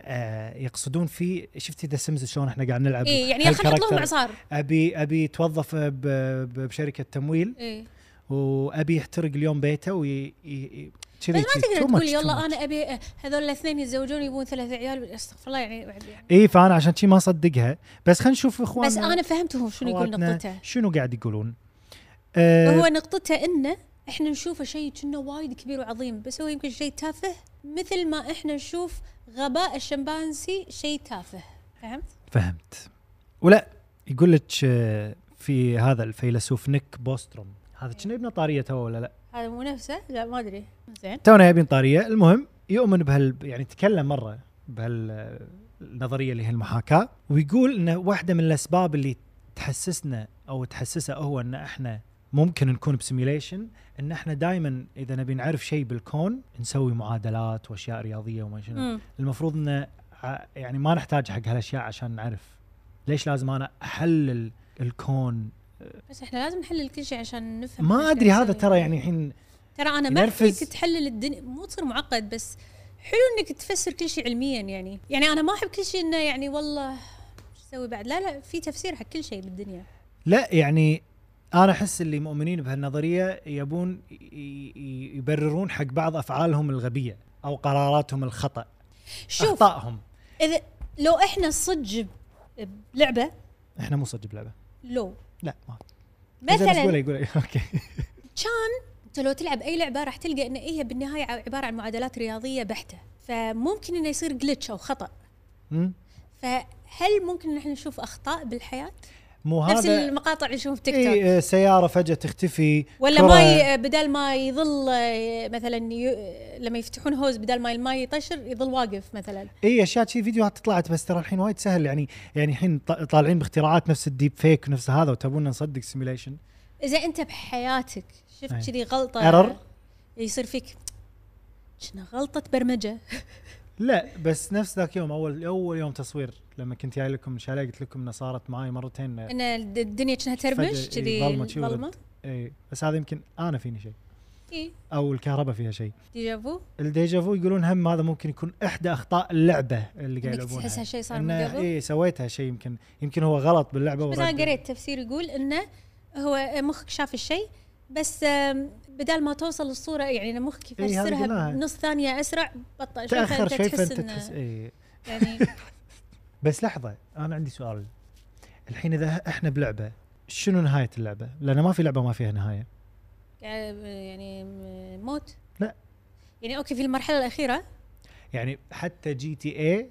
B: آه يقصدون فيه شفتي ذا سيمز شلون احنا قاعد نلعب
A: ايه يعني خلينا نحط لهم
B: هالكاركتر.
A: اعصار
B: ابي ابي يتوظف ب- ب- بشركه تمويل
A: ايه
B: وابي يحترق اليوم بيته وي ي- ي- كذي
A: بس ما
B: كذي.
A: تقدر
B: Too
A: تقول
B: much, too
A: يلا
B: much.
A: انا ابي آه، هذول الاثنين يتزوجون يبون ثلاث عيال استغفر الله يعني بعد- يعني.
B: اي فانا إيه، عشان شي ما اصدقها بس خلينا نشوف اخواننا
A: بس انا فهمت هو شنو يقول
B: أخواتنا
A: نقطته
B: شنو قاعد يقولون أه
A: هو نقطته انه احنا نشوفه شيء كنا وايد كبير وعظيم بس هو يمكن شيء تافه مثل ما احنا نشوف غباء الشمبانزي شيء تافه فهمت؟
B: فهمت ولا يقول لك آه، في هذا الفيلسوف نيك بوستروم هذا كنا يبنى طاريه تو ولا لا
A: هذا مو نفسه؟ لا ما ادري زين
B: تونا يبين طاريه المهم يؤمن بهال يعني تكلم مره بهالنظريه اللي هي المحاكاه ويقول انه واحده من الاسباب اللي تحسسنا او تحسسه هو ان احنا ممكن نكون بسيميليشن ان احنا دائما اذا نبي نعرف شيء بالكون نسوي معادلات واشياء رياضيه وما شنو
A: مم.
B: المفروض ان ع- يعني ما نحتاج حق هالاشياء عشان نعرف ليش لازم انا احلل الكون
A: بس احنا لازم نحلل كل شيء عشان نفهم إيش
B: ما
A: قاعد
B: ادري هذا
A: نسوي.
B: ترى يعني الحين
A: ترى انا ما
B: ينرفز.
A: فيك تحلل الدنيا مو تصير معقد بس حلو انك تفسر كل شيء علميا يعني يعني انا ما احب كل شيء انه يعني والله شو اسوي بعد لا لا في تفسير حق كل شيء بالدنيا
B: لا يعني انا احس اللي مؤمنين بهالنظريه يبون ي- ي- يبررون حق بعض افعالهم الغبيه او قراراتهم الخطا
A: شوف
B: اخطائهم
A: اذا لو احنا صدق بلعبه
B: احنا مو صدق بلعبه
A: لو
B: لا ما إذا بس قولي
A: مثلا
B: قولي اوكي
A: كان انت لو تلعب اي لعبه راح تلقى ان هي بالنهايه عباره عن معادلات رياضيه بحته فممكن انه يصير جلتش او خطا
B: مم.
A: فهل ممكن ان احنا نشوف اخطاء بالحياه؟
B: مو
A: نفس
B: هذا
A: المقاطع اللي نشوفها بتيك توك
B: اي آه، سياره فجاه تختفي
A: ولا
B: كرة-
A: ماي بدل ما يظل آه، مثلا ي- لما يفتحون هوز بدل ما الماي يطشر يظل واقف مثلا
B: اي اشياء إيه، شي فيديوهات طلعت بس ترى الحين وايد سهل يعني يعني الحين ط- طالعين باختراعات نفس الديب فيك ونفس هذا وتبونا نصدق سيميليشن
A: اذا انت بحياتك
B: أي.
A: شفت كذي غلطه
B: Error.
A: يصير فيك شنو غلطه برمجه
B: لا بس نفس ذاك يوم اول اول يوم تصوير لما كنت جاي لكم من شاليه قلت لكم انه صارت معي مرتين آه،
A: ان الد- الدنيا كانها ترمش
B: فجأة إي،
A: كذي
B: ظلمة شي
A: ظلمه
B: ورد. اي بس هذا يمكن انا فيني شيء
A: اي
B: او الكهرباء فيها شيء
A: ديجافو
B: الديجافو يقولون هم هذا ممكن يكون احدى اخطاء اللعبه اللي قاعد
A: إنك
B: يلعبونها
A: تحسها شيء صار من
B: إنه
A: قبل؟
B: اي سويتها شيء يمكن يمكن هو غلط باللعبه
A: بس
B: ورد-
A: انا قريت تفسير يقول انه هو مخك شاف الشيء بس آم، بدل ما توصل الصوره يعني إن مخك
B: إي، هذا
A: يفسرها
B: قلناها.
A: بنص ثانيه اسرع بطأ شوي
B: تاخر شوي
A: تحس
B: فانت
A: إنه
B: تحس اي
A: يعني
B: بس لحظه انا عندي سؤال الحين اذا احنا بلعبه شنو نهايه اللعبه؟ لان ما في لعبه ما فيها نهايه
A: قاعد- يعني م- موت
B: لا.
A: يعني اوكي في المرحله الاخيره
B: يعني حتى جي تي إيه اي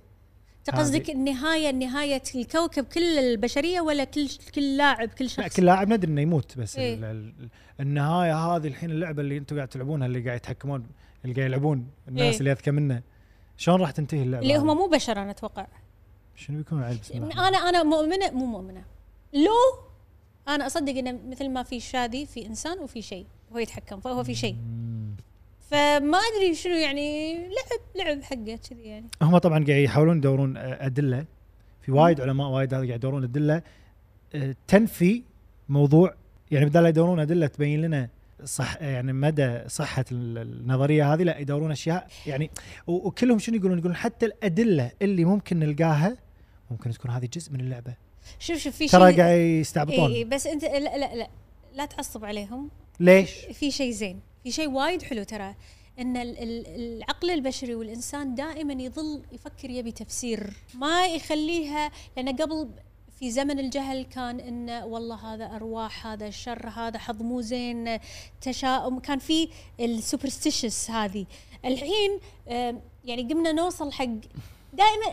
A: أنت قصدك النهايه نهايه الكوكب كل البشريه ولا كل كل لاعب كل
B: لا
A: شخص
B: كل لاعب ندري انه يموت بس
A: إيه.
B: إيه؟ ال ال النهايه هذه الحين اللعبه اللي انتم قاعد تلعبونها اللي قاعد يتحكمون اللي قاعد يلعبون الناس
A: إيه.
B: إيه؟ اللي اذكى منه شلون راح تنتهي اللعبه؟
A: اللي هم
B: هذه؟
A: مو بشر انا اتوقع
B: شنو بيكون العيب بسم الله الرحمن
A: انا انا مؤمنه مو مؤمنه لو انا اصدق انه مثل ما في شادي في انسان وفي شيء هو يتحكم فهو في شيء
B: الرحيم.
A: فما ادري شنو يعني لعب لعب حقه كذي يعني
B: هم طبعا قاعد يحاولون يدورون آه، ادله في وايد علماء وايد هذا قاعد يدورون ادله آه، تنفي موضوع يعني بدل لا يدورون ادله تبين لنا صح يعني مدى صحه ال- النظريه هذه لا يدورون اشياء يعني و- وكلهم شنو يقولون؟ يقولون حتى الادله اللي ممكن نلقاها ممكن تكون هذه جزء من اللعبه
A: شوف شوف في شيء
B: ترى قاعد
A: إي إي
B: يستعبطون
A: بس انت لا لا لا لا تعصب عليهم
B: ليش؟
A: في شيء زين في شيء وايد حلو ترى ان ال- ال- العقل البشري والانسان دائما يظل يفكر يبي تفسير ما يخليها لان قبل في زمن الجهل كان انه والله هذا ارواح هذا شر هذا حظ مو زين تشاؤم كان في السوبرستيشس هذه الحين آم، يعني قمنا نوصل حق دائما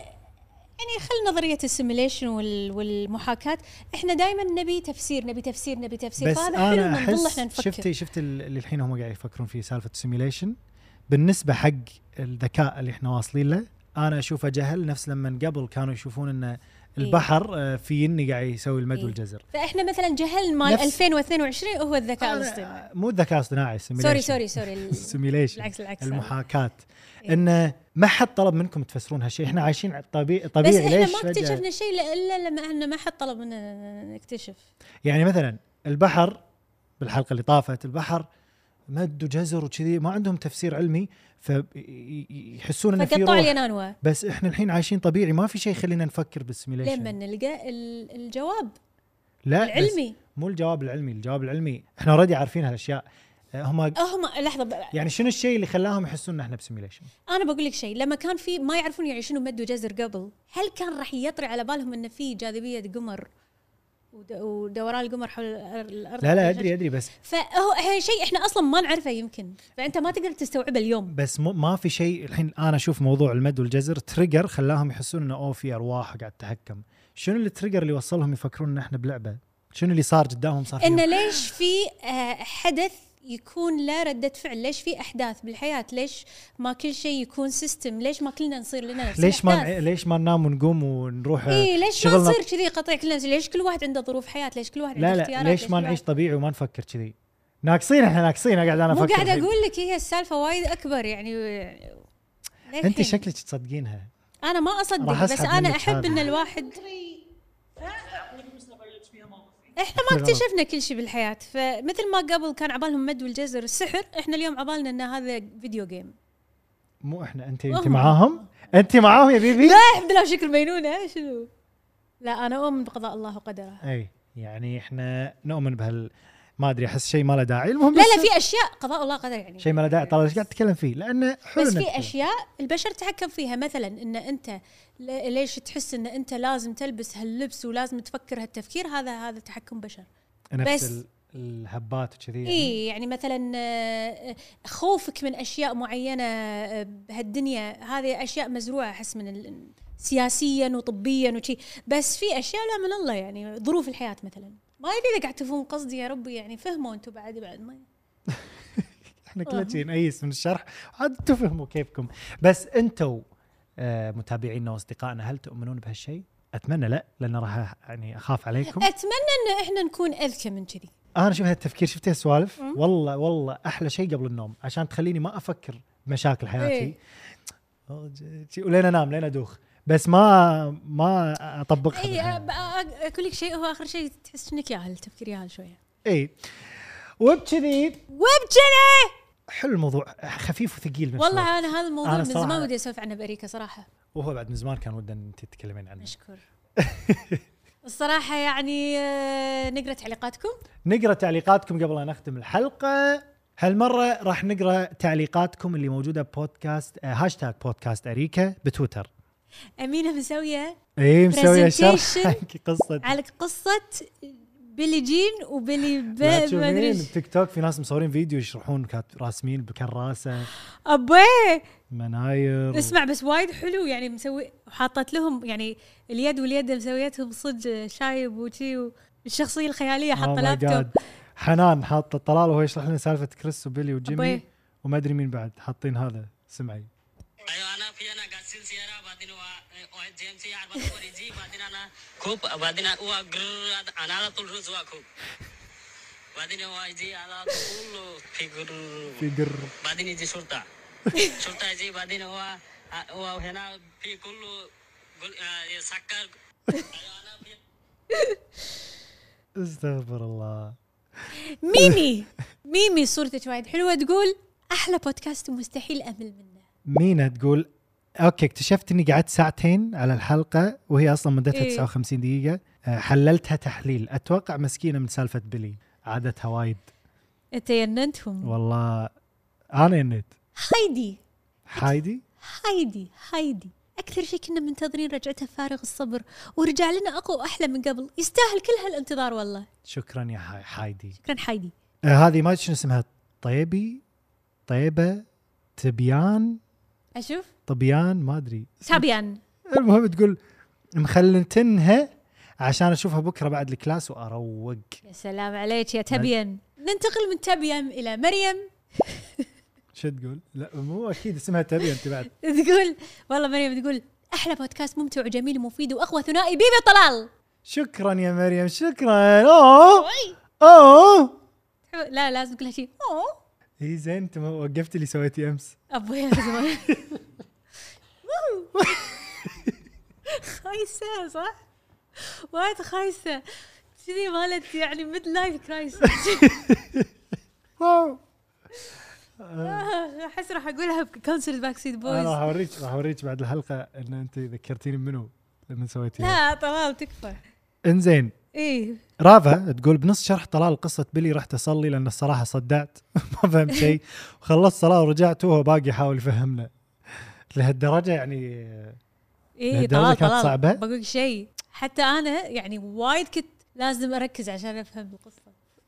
A: يعني خل نظريه السيميليشن والمحاكاه احنا دائما نبي تفسير نبي تفسير نبي تفسير
B: بس
A: فهذا حلو
B: انا
A: إن نظل احنا
B: احس
A: نفكر
B: شفتي شفت ال- اللي الحين هم قاعد يفكرون فيه سالفه السيميليشن بالنسبه حق الذكاء اللي احنا واصلين له انا اشوفه جهل نفس لما قبل كانوا يشوفون ان البحر آه، في اني قاعد يسوي المد
A: إيه.
B: والجزر
A: فاحنا مثلا جهل مال
B: نفس-
A: 2022 هو الذكاء
B: أنا-
A: الاصطناعي
B: مو الذكاء الاصطناعي
A: سوري سوري سوري ال-
B: السيميليشن
A: العكس العكس
B: المحاكاه
A: إيه.
B: انه ما حد طلب منكم تفسرون هالشيء احنا عايشين ع- طبيعي
A: بس
B: طبيعي
A: احنا
B: ليش
A: ما
B: فجأة-
A: اكتشفنا شيء لا- الا لما احنا ما حد طلب مننا نكتشف
B: يعني مثلا البحر بالحلقه اللي طافت البحر مد وجزر وكذي ما عندهم تفسير علمي فيحسون انه في
A: فقطعوا لي
B: روح
A: انواع
B: بس احنا الحين عايشين طبيعي ما في شيء يخلينا نفكر بالسيميليشن
A: لما نلقى ال- الجواب
B: لا بس
A: العلمي
B: مو الجواب العلمي الجواب العلمي احنا اوريدي عارفين هالاشياء آه، هم
A: هم لحظه بقى.
B: يعني شنو الشيء اللي خلاهم يحسون ان احنا بسيميليشن
A: انا بقول لك شيء لما كان في ما يعرفون يعني شنو مد وجزر قبل هل كان راح يطري على بالهم انه في جاذبيه قمر ود- ودوران القمر حول الأر- الارض
B: لا لا ادري ادري بس
A: فهو هي شيء احنا اصلا ما نعرفه يمكن فانت ما تقدر تستوعبه اليوم
B: بس مو ما في شيء الحين انا اشوف موضوع المد والجزر تريجر خلاهم يحسون انه اوه في ارواح قاعد تتحكم شنو التريجر اللي وصلهم يفكرون ان احنا بلعبه شنو اللي صار قدامهم صار فيهم؟
A: انه ليش في آه، حدث يكون لا ردة فعل ليش في احداث بالحياة ليش ما كل شيء يكون سيستم ليش ما كلنا نصير لنا نفس
B: ليش ما
A: الأحداث؟
B: نع- ليش ما ننام ونقوم ونروح
A: اي إيه، ليش ما
B: شغلنا-
A: نصير كذي قطع كلنا ليش كل واحد عنده ظروف حياة ليش كل واحد
B: لا
A: عنده
B: لا
A: اختيارات
B: ليش ما
A: كل
B: نعيش
A: واحد-
B: طبيعي وما نفكر كذي ناقصين احنا ناقصين قاعد انا
A: مو
B: افكر
A: قاعد
B: الحين.
A: اقول لك هي السالفة وايد اكبر يعني للحين.
B: انت شكلك تصدقينها
A: انا ما
B: راح
A: اصدق بس
B: أسحب
A: انا
B: منك
A: احب
B: هذا.
A: ان الواحد احنا ما
B: غلط.
A: اكتشفنا كل شيء بالحياة فمثل ما قبل كان عبالهم مد والجزر السحر احنا اليوم عبالنا ان هذا فيديو جيم
B: مو احنا انت انت
A: وهم.
B: معاهم انت معاهم يا بيبي
A: لا الحمد لله شكل مينونة شنو لا أنا أؤمن بقضاء الله وقدره
B: اي يعني احنا نؤمن بهال ما ادري احس شيء ما له داعي المهم
A: لا
B: بس
A: لا في أشياء قضاء الله قدر يعني
B: شيء ما له داعي طال ايش قاعد تتكلم فيه لانه حلو
A: بس
B: إنه
A: في
B: نتكلم.
A: أشياء البشر تحكم فيها مثلا أن أنت ل- ليش تحس أن أنت لازم تلبس هاللبس ولازم تفكر هالتفكير هذا هذا تحكم بشر
B: نفس
A: بس-
B: ال- الهبات وكذي يعني.
A: اي يعني مثلا آه، خوفك من اشياء معينه آه، بهالدنيا هذه اشياء مزروعه احس من ال- سياسيا وطبيا وشي بس في اشياء لا من الله يعني ظروف الحياه مثلا ما ادري اذا قاعد تفهمون قصدي يا ربي يعني فهموا انتم بعد بعد ما
B: احنا
A: آه.
B: كلنا شي نقيس من الشرح عاد تفهموا كيفكم بس انتوا آه، متابعينا واصدقائنا هل تؤمنون بهالشيء؟ اتمنى لا لان راح أ- يعني اخاف عليكم
A: اتمنى ان احنا نكون اذكى من كذي
B: انا شوف هالتفكير شفت هالسوالف والله والله احلى شيء قبل النوم عشان تخليني ما افكر بمشاكل حياتي
A: إيه.
B: أوه، ج- ج- ولين انام لين ادوخ بس ما ما اطبقها
A: اي
B: بالحياة.
A: إيه، أب- أ- اقول لك شيء هو اخر شيء تحس انك ياهل تفكير ياهل شويه
B: اي وبكذي
A: وبجنة
B: حلو الموضوع خفيف وثقيل بنفس الوقت.
A: والله انا هذا الموضوع
B: أنا
A: من زمان
B: صراحة-
A: ودي اسولف عنه باريكا صراحه
B: وهو بعد من زمان كان ودنا إن انت تتكلمين عنه
A: مشكور الصراحة يعني آه، نقرأ تعليقاتكم
B: نقرا تعليقاتكم قبل ان نختم الحلقه هالمره راح نقرا تعليقاتكم اللي موجوده بودكاست آه، هاشتاج بودكاست اريكا بتويتر
A: أمينة مسوية
B: اي مسويه شرح
A: Presentation
B: حق قصه
A: على قصة بيلي جين وبيلي ب
B: لا
A: ما
B: تشوفين
A: أدري إيش.
B: بتيك توك في ناس مصورين فيديو يشرحون كات- راسمين بكراسه
A: أبوي
B: مناير
A: اسمع بس وايد حلو يعني مسوي وحاطت لهم يعني اليد واليد مسويتهم صدق شايب وشي والشخصية الخيالية
B: Oh my
A: حاطة لابتوب
B: God. حنان حاطه طلال وهو يشرح لنا سالفه كريس وبيلي
A: أبوي.
B: وجيمي وما ادري مين بعد حاطين هذا سمعي
I: ايوه انا في انا غسل سيارة بعدين هو هو جيمس يار بعدين هو ريجي بعدين انا كوب بعدين هو جر انا على طول رز واكو بعدين هو يجي على طول فيجر
B: في قر
I: بعدين يجي شرطة شرطة يجي بعدين هو هو هنا في كله قل- آه، سكر أنا في-
B: استغفر الله
A: ميمي ميمي صورتك وايد حلوه تقول احلى بودكاست ومستحيل امل منه
B: مينا تقول اوكي اكتشفت اني قعدت ساعتين على الحلقه وهي اصلا مدتها
A: إيه.
B: 59 دقيقه آه، حللتها تحليل اتوقع مسكينه من سالفه بلي عادتها وايد
A: تيننتهم
B: والله انا انت
A: هايدي
B: هايدي
A: هايدي هايدي اكثر شيء كنا منتظرين رجعتها فارغ الصبر ورجع لنا اقوى واحلى من قبل يستاهل كل هالانتظار والله
B: شكرا يا هاي هايدي
A: شكرا هايدي
B: آه، هذه ما أدري شنو اسمها طيبي طيبه تبيان
A: اشوف
B: طبيان ما ادري
A: تابيان
B: المهم تقول مخلنتنها عشان اشوفها بكره بعد الكلاس واروق
A: يا سلام عليك يا تبيان ننتقل من تبيان الى مريم
B: شو تقول؟ لا مو اكيد اسمها تبي انت بعد
A: تقول والله مريم تقول احلى بودكاست ممتع وجميل ومفيد واقوى ثنائي بيبي طلال
B: شكرا يا مريم شكرا اوه اوه
A: حو- لا لازم كل شيء اوه
B: اي زين انت ما وقفت اللي سويتي امس
A: ابويا من زمان واو. خايسه صح؟ وايد خايسه كذي مالت يعني ميد لايف كرايسس
B: واو
A: آه، احس راح اقولها بكونسرت باك سيد
B: انا آه، راح
A: بويز
B: اوريك راح اوريك بعد الحلقه ان انت ذكرتيني منو لما سويتيها
A: لا طلال تكفى
B: انزين
A: ايه
B: رافا تقول بنص شرح طلال قصة بيلي رحت أصلي لأن الصراحة صدعت ما فهمت شيء وخلصت صلاة ورجعت وهو باقي يحاول يفهمنا لهالدرجة يعني
A: ايه
B: لهالدرجة
A: طلال
B: كانت
A: طلال
B: صعبة؟
A: بقول لك شيء حتى انا يعني وايد كنت لازم اركز عشان افهم القصه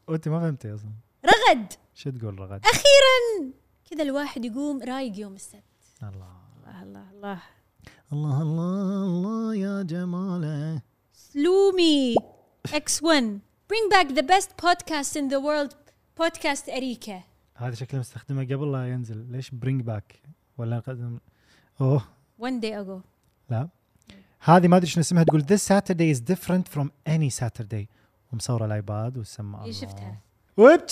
B: وأنت ما فهمتي أصلا
A: رغد
B: شو تقول رغد؟
A: اخيرا كذا الواحد يقوم رايق يوم السبت
B: الله
A: الله الله الله
B: الله الله الله يا جماله
A: سلومي اكس 1 bring back the best podcast in the world بودكاست اريكا
B: هذا شكله مستخدمه قبل لا ينزل ليش برينج باك ولا قدم اوه
A: one day ago
B: لا هذه ما ادري شنو اسمها تقول this Saturday is different from any Saturday ومصوره الايباد والسماعه
A: إيه، شفتها.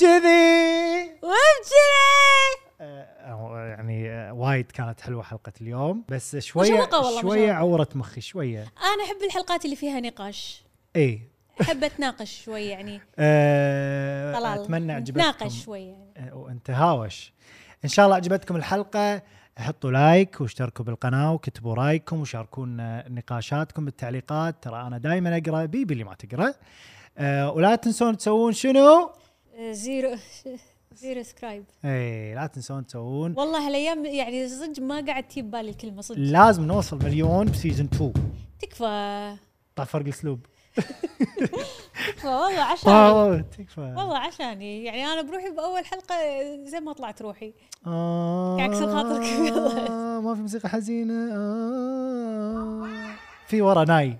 B: وبكذي
A: وابجري
B: آه، يعني آه، وايد كانت حلوه حلقه اليوم بس شويه
A: مشوقة والله،
B: شويه
A: مشوقة.
B: عورت مخي شويه
A: انا احب الحلقات اللي فيها نقاش
B: اي
A: احب اتناقش شوي يعني
B: أه
A: طلال
B: اتمنى عجبتكم
A: نتناقش شوي يعني
B: ونتهاوش ان شاء الله عجبتكم الحلقه حطوا لايك واشتركوا بالقناه وكتبوا رايكم وشاركونا نقاشاتكم بالتعليقات ترى انا دائما اقرا بيبي اللي ما تقرا أه ولا تنسون تسوون شنو
A: زيرو زيرو سكرايب
B: اي إيه، لا تنسون تسوون
A: والله هالايام يعني صدق ما قاعد تجيب بالي الكلمه صدق
B: لازم نوصل مليون بسيزون 2
A: تكفى
B: طال فرق الاسلوب
A: تكفى والله عشان
B: واو، تكفى
A: والله عشاني يعني انا بروحي باول حلقه زي ما طلعت روحي
B: آه،
A: قاعد أكسر خاطرك.
B: آه، ما في موسيقى حزينه آه. في ورا ناي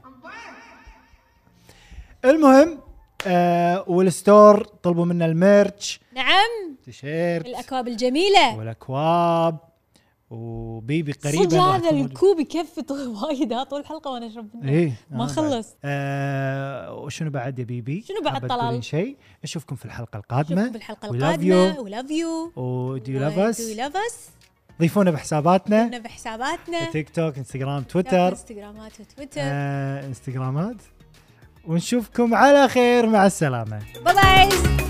B: المهم آه والستور طلبوا منا الميرتش
A: نعم
B: تيشيرت
A: الاكواب الجميله
B: والاكواب وبيبي قريبا
A: صدق
B: راح
A: هذا
B: تكون-
A: الكوب يكفي طول وايد ها طول الحلقه وانا اشرب منه
B: ايه
A: ما
B: آه،
A: خلص.
B: بعد. آه وشنو بعد يا بيبي؟
A: شنو بعد
B: حابة
A: طلال؟
B: تقولين شيء نشوفكم في الحلقه القادمه
A: نشوفكم بالحلقه
B: We love
A: القادمه
B: you. Oh,
A: ولاف يو
B: ودو لاف اس
A: لاف اس
B: ضيفونا بحساباتنا
A: بحساباتنا
B: تيك توك انستغرام تويتر
A: انستغرامات وتويتر
B: آه انستغرامات ونشوفكم على خير مع السلامه
A: باي باي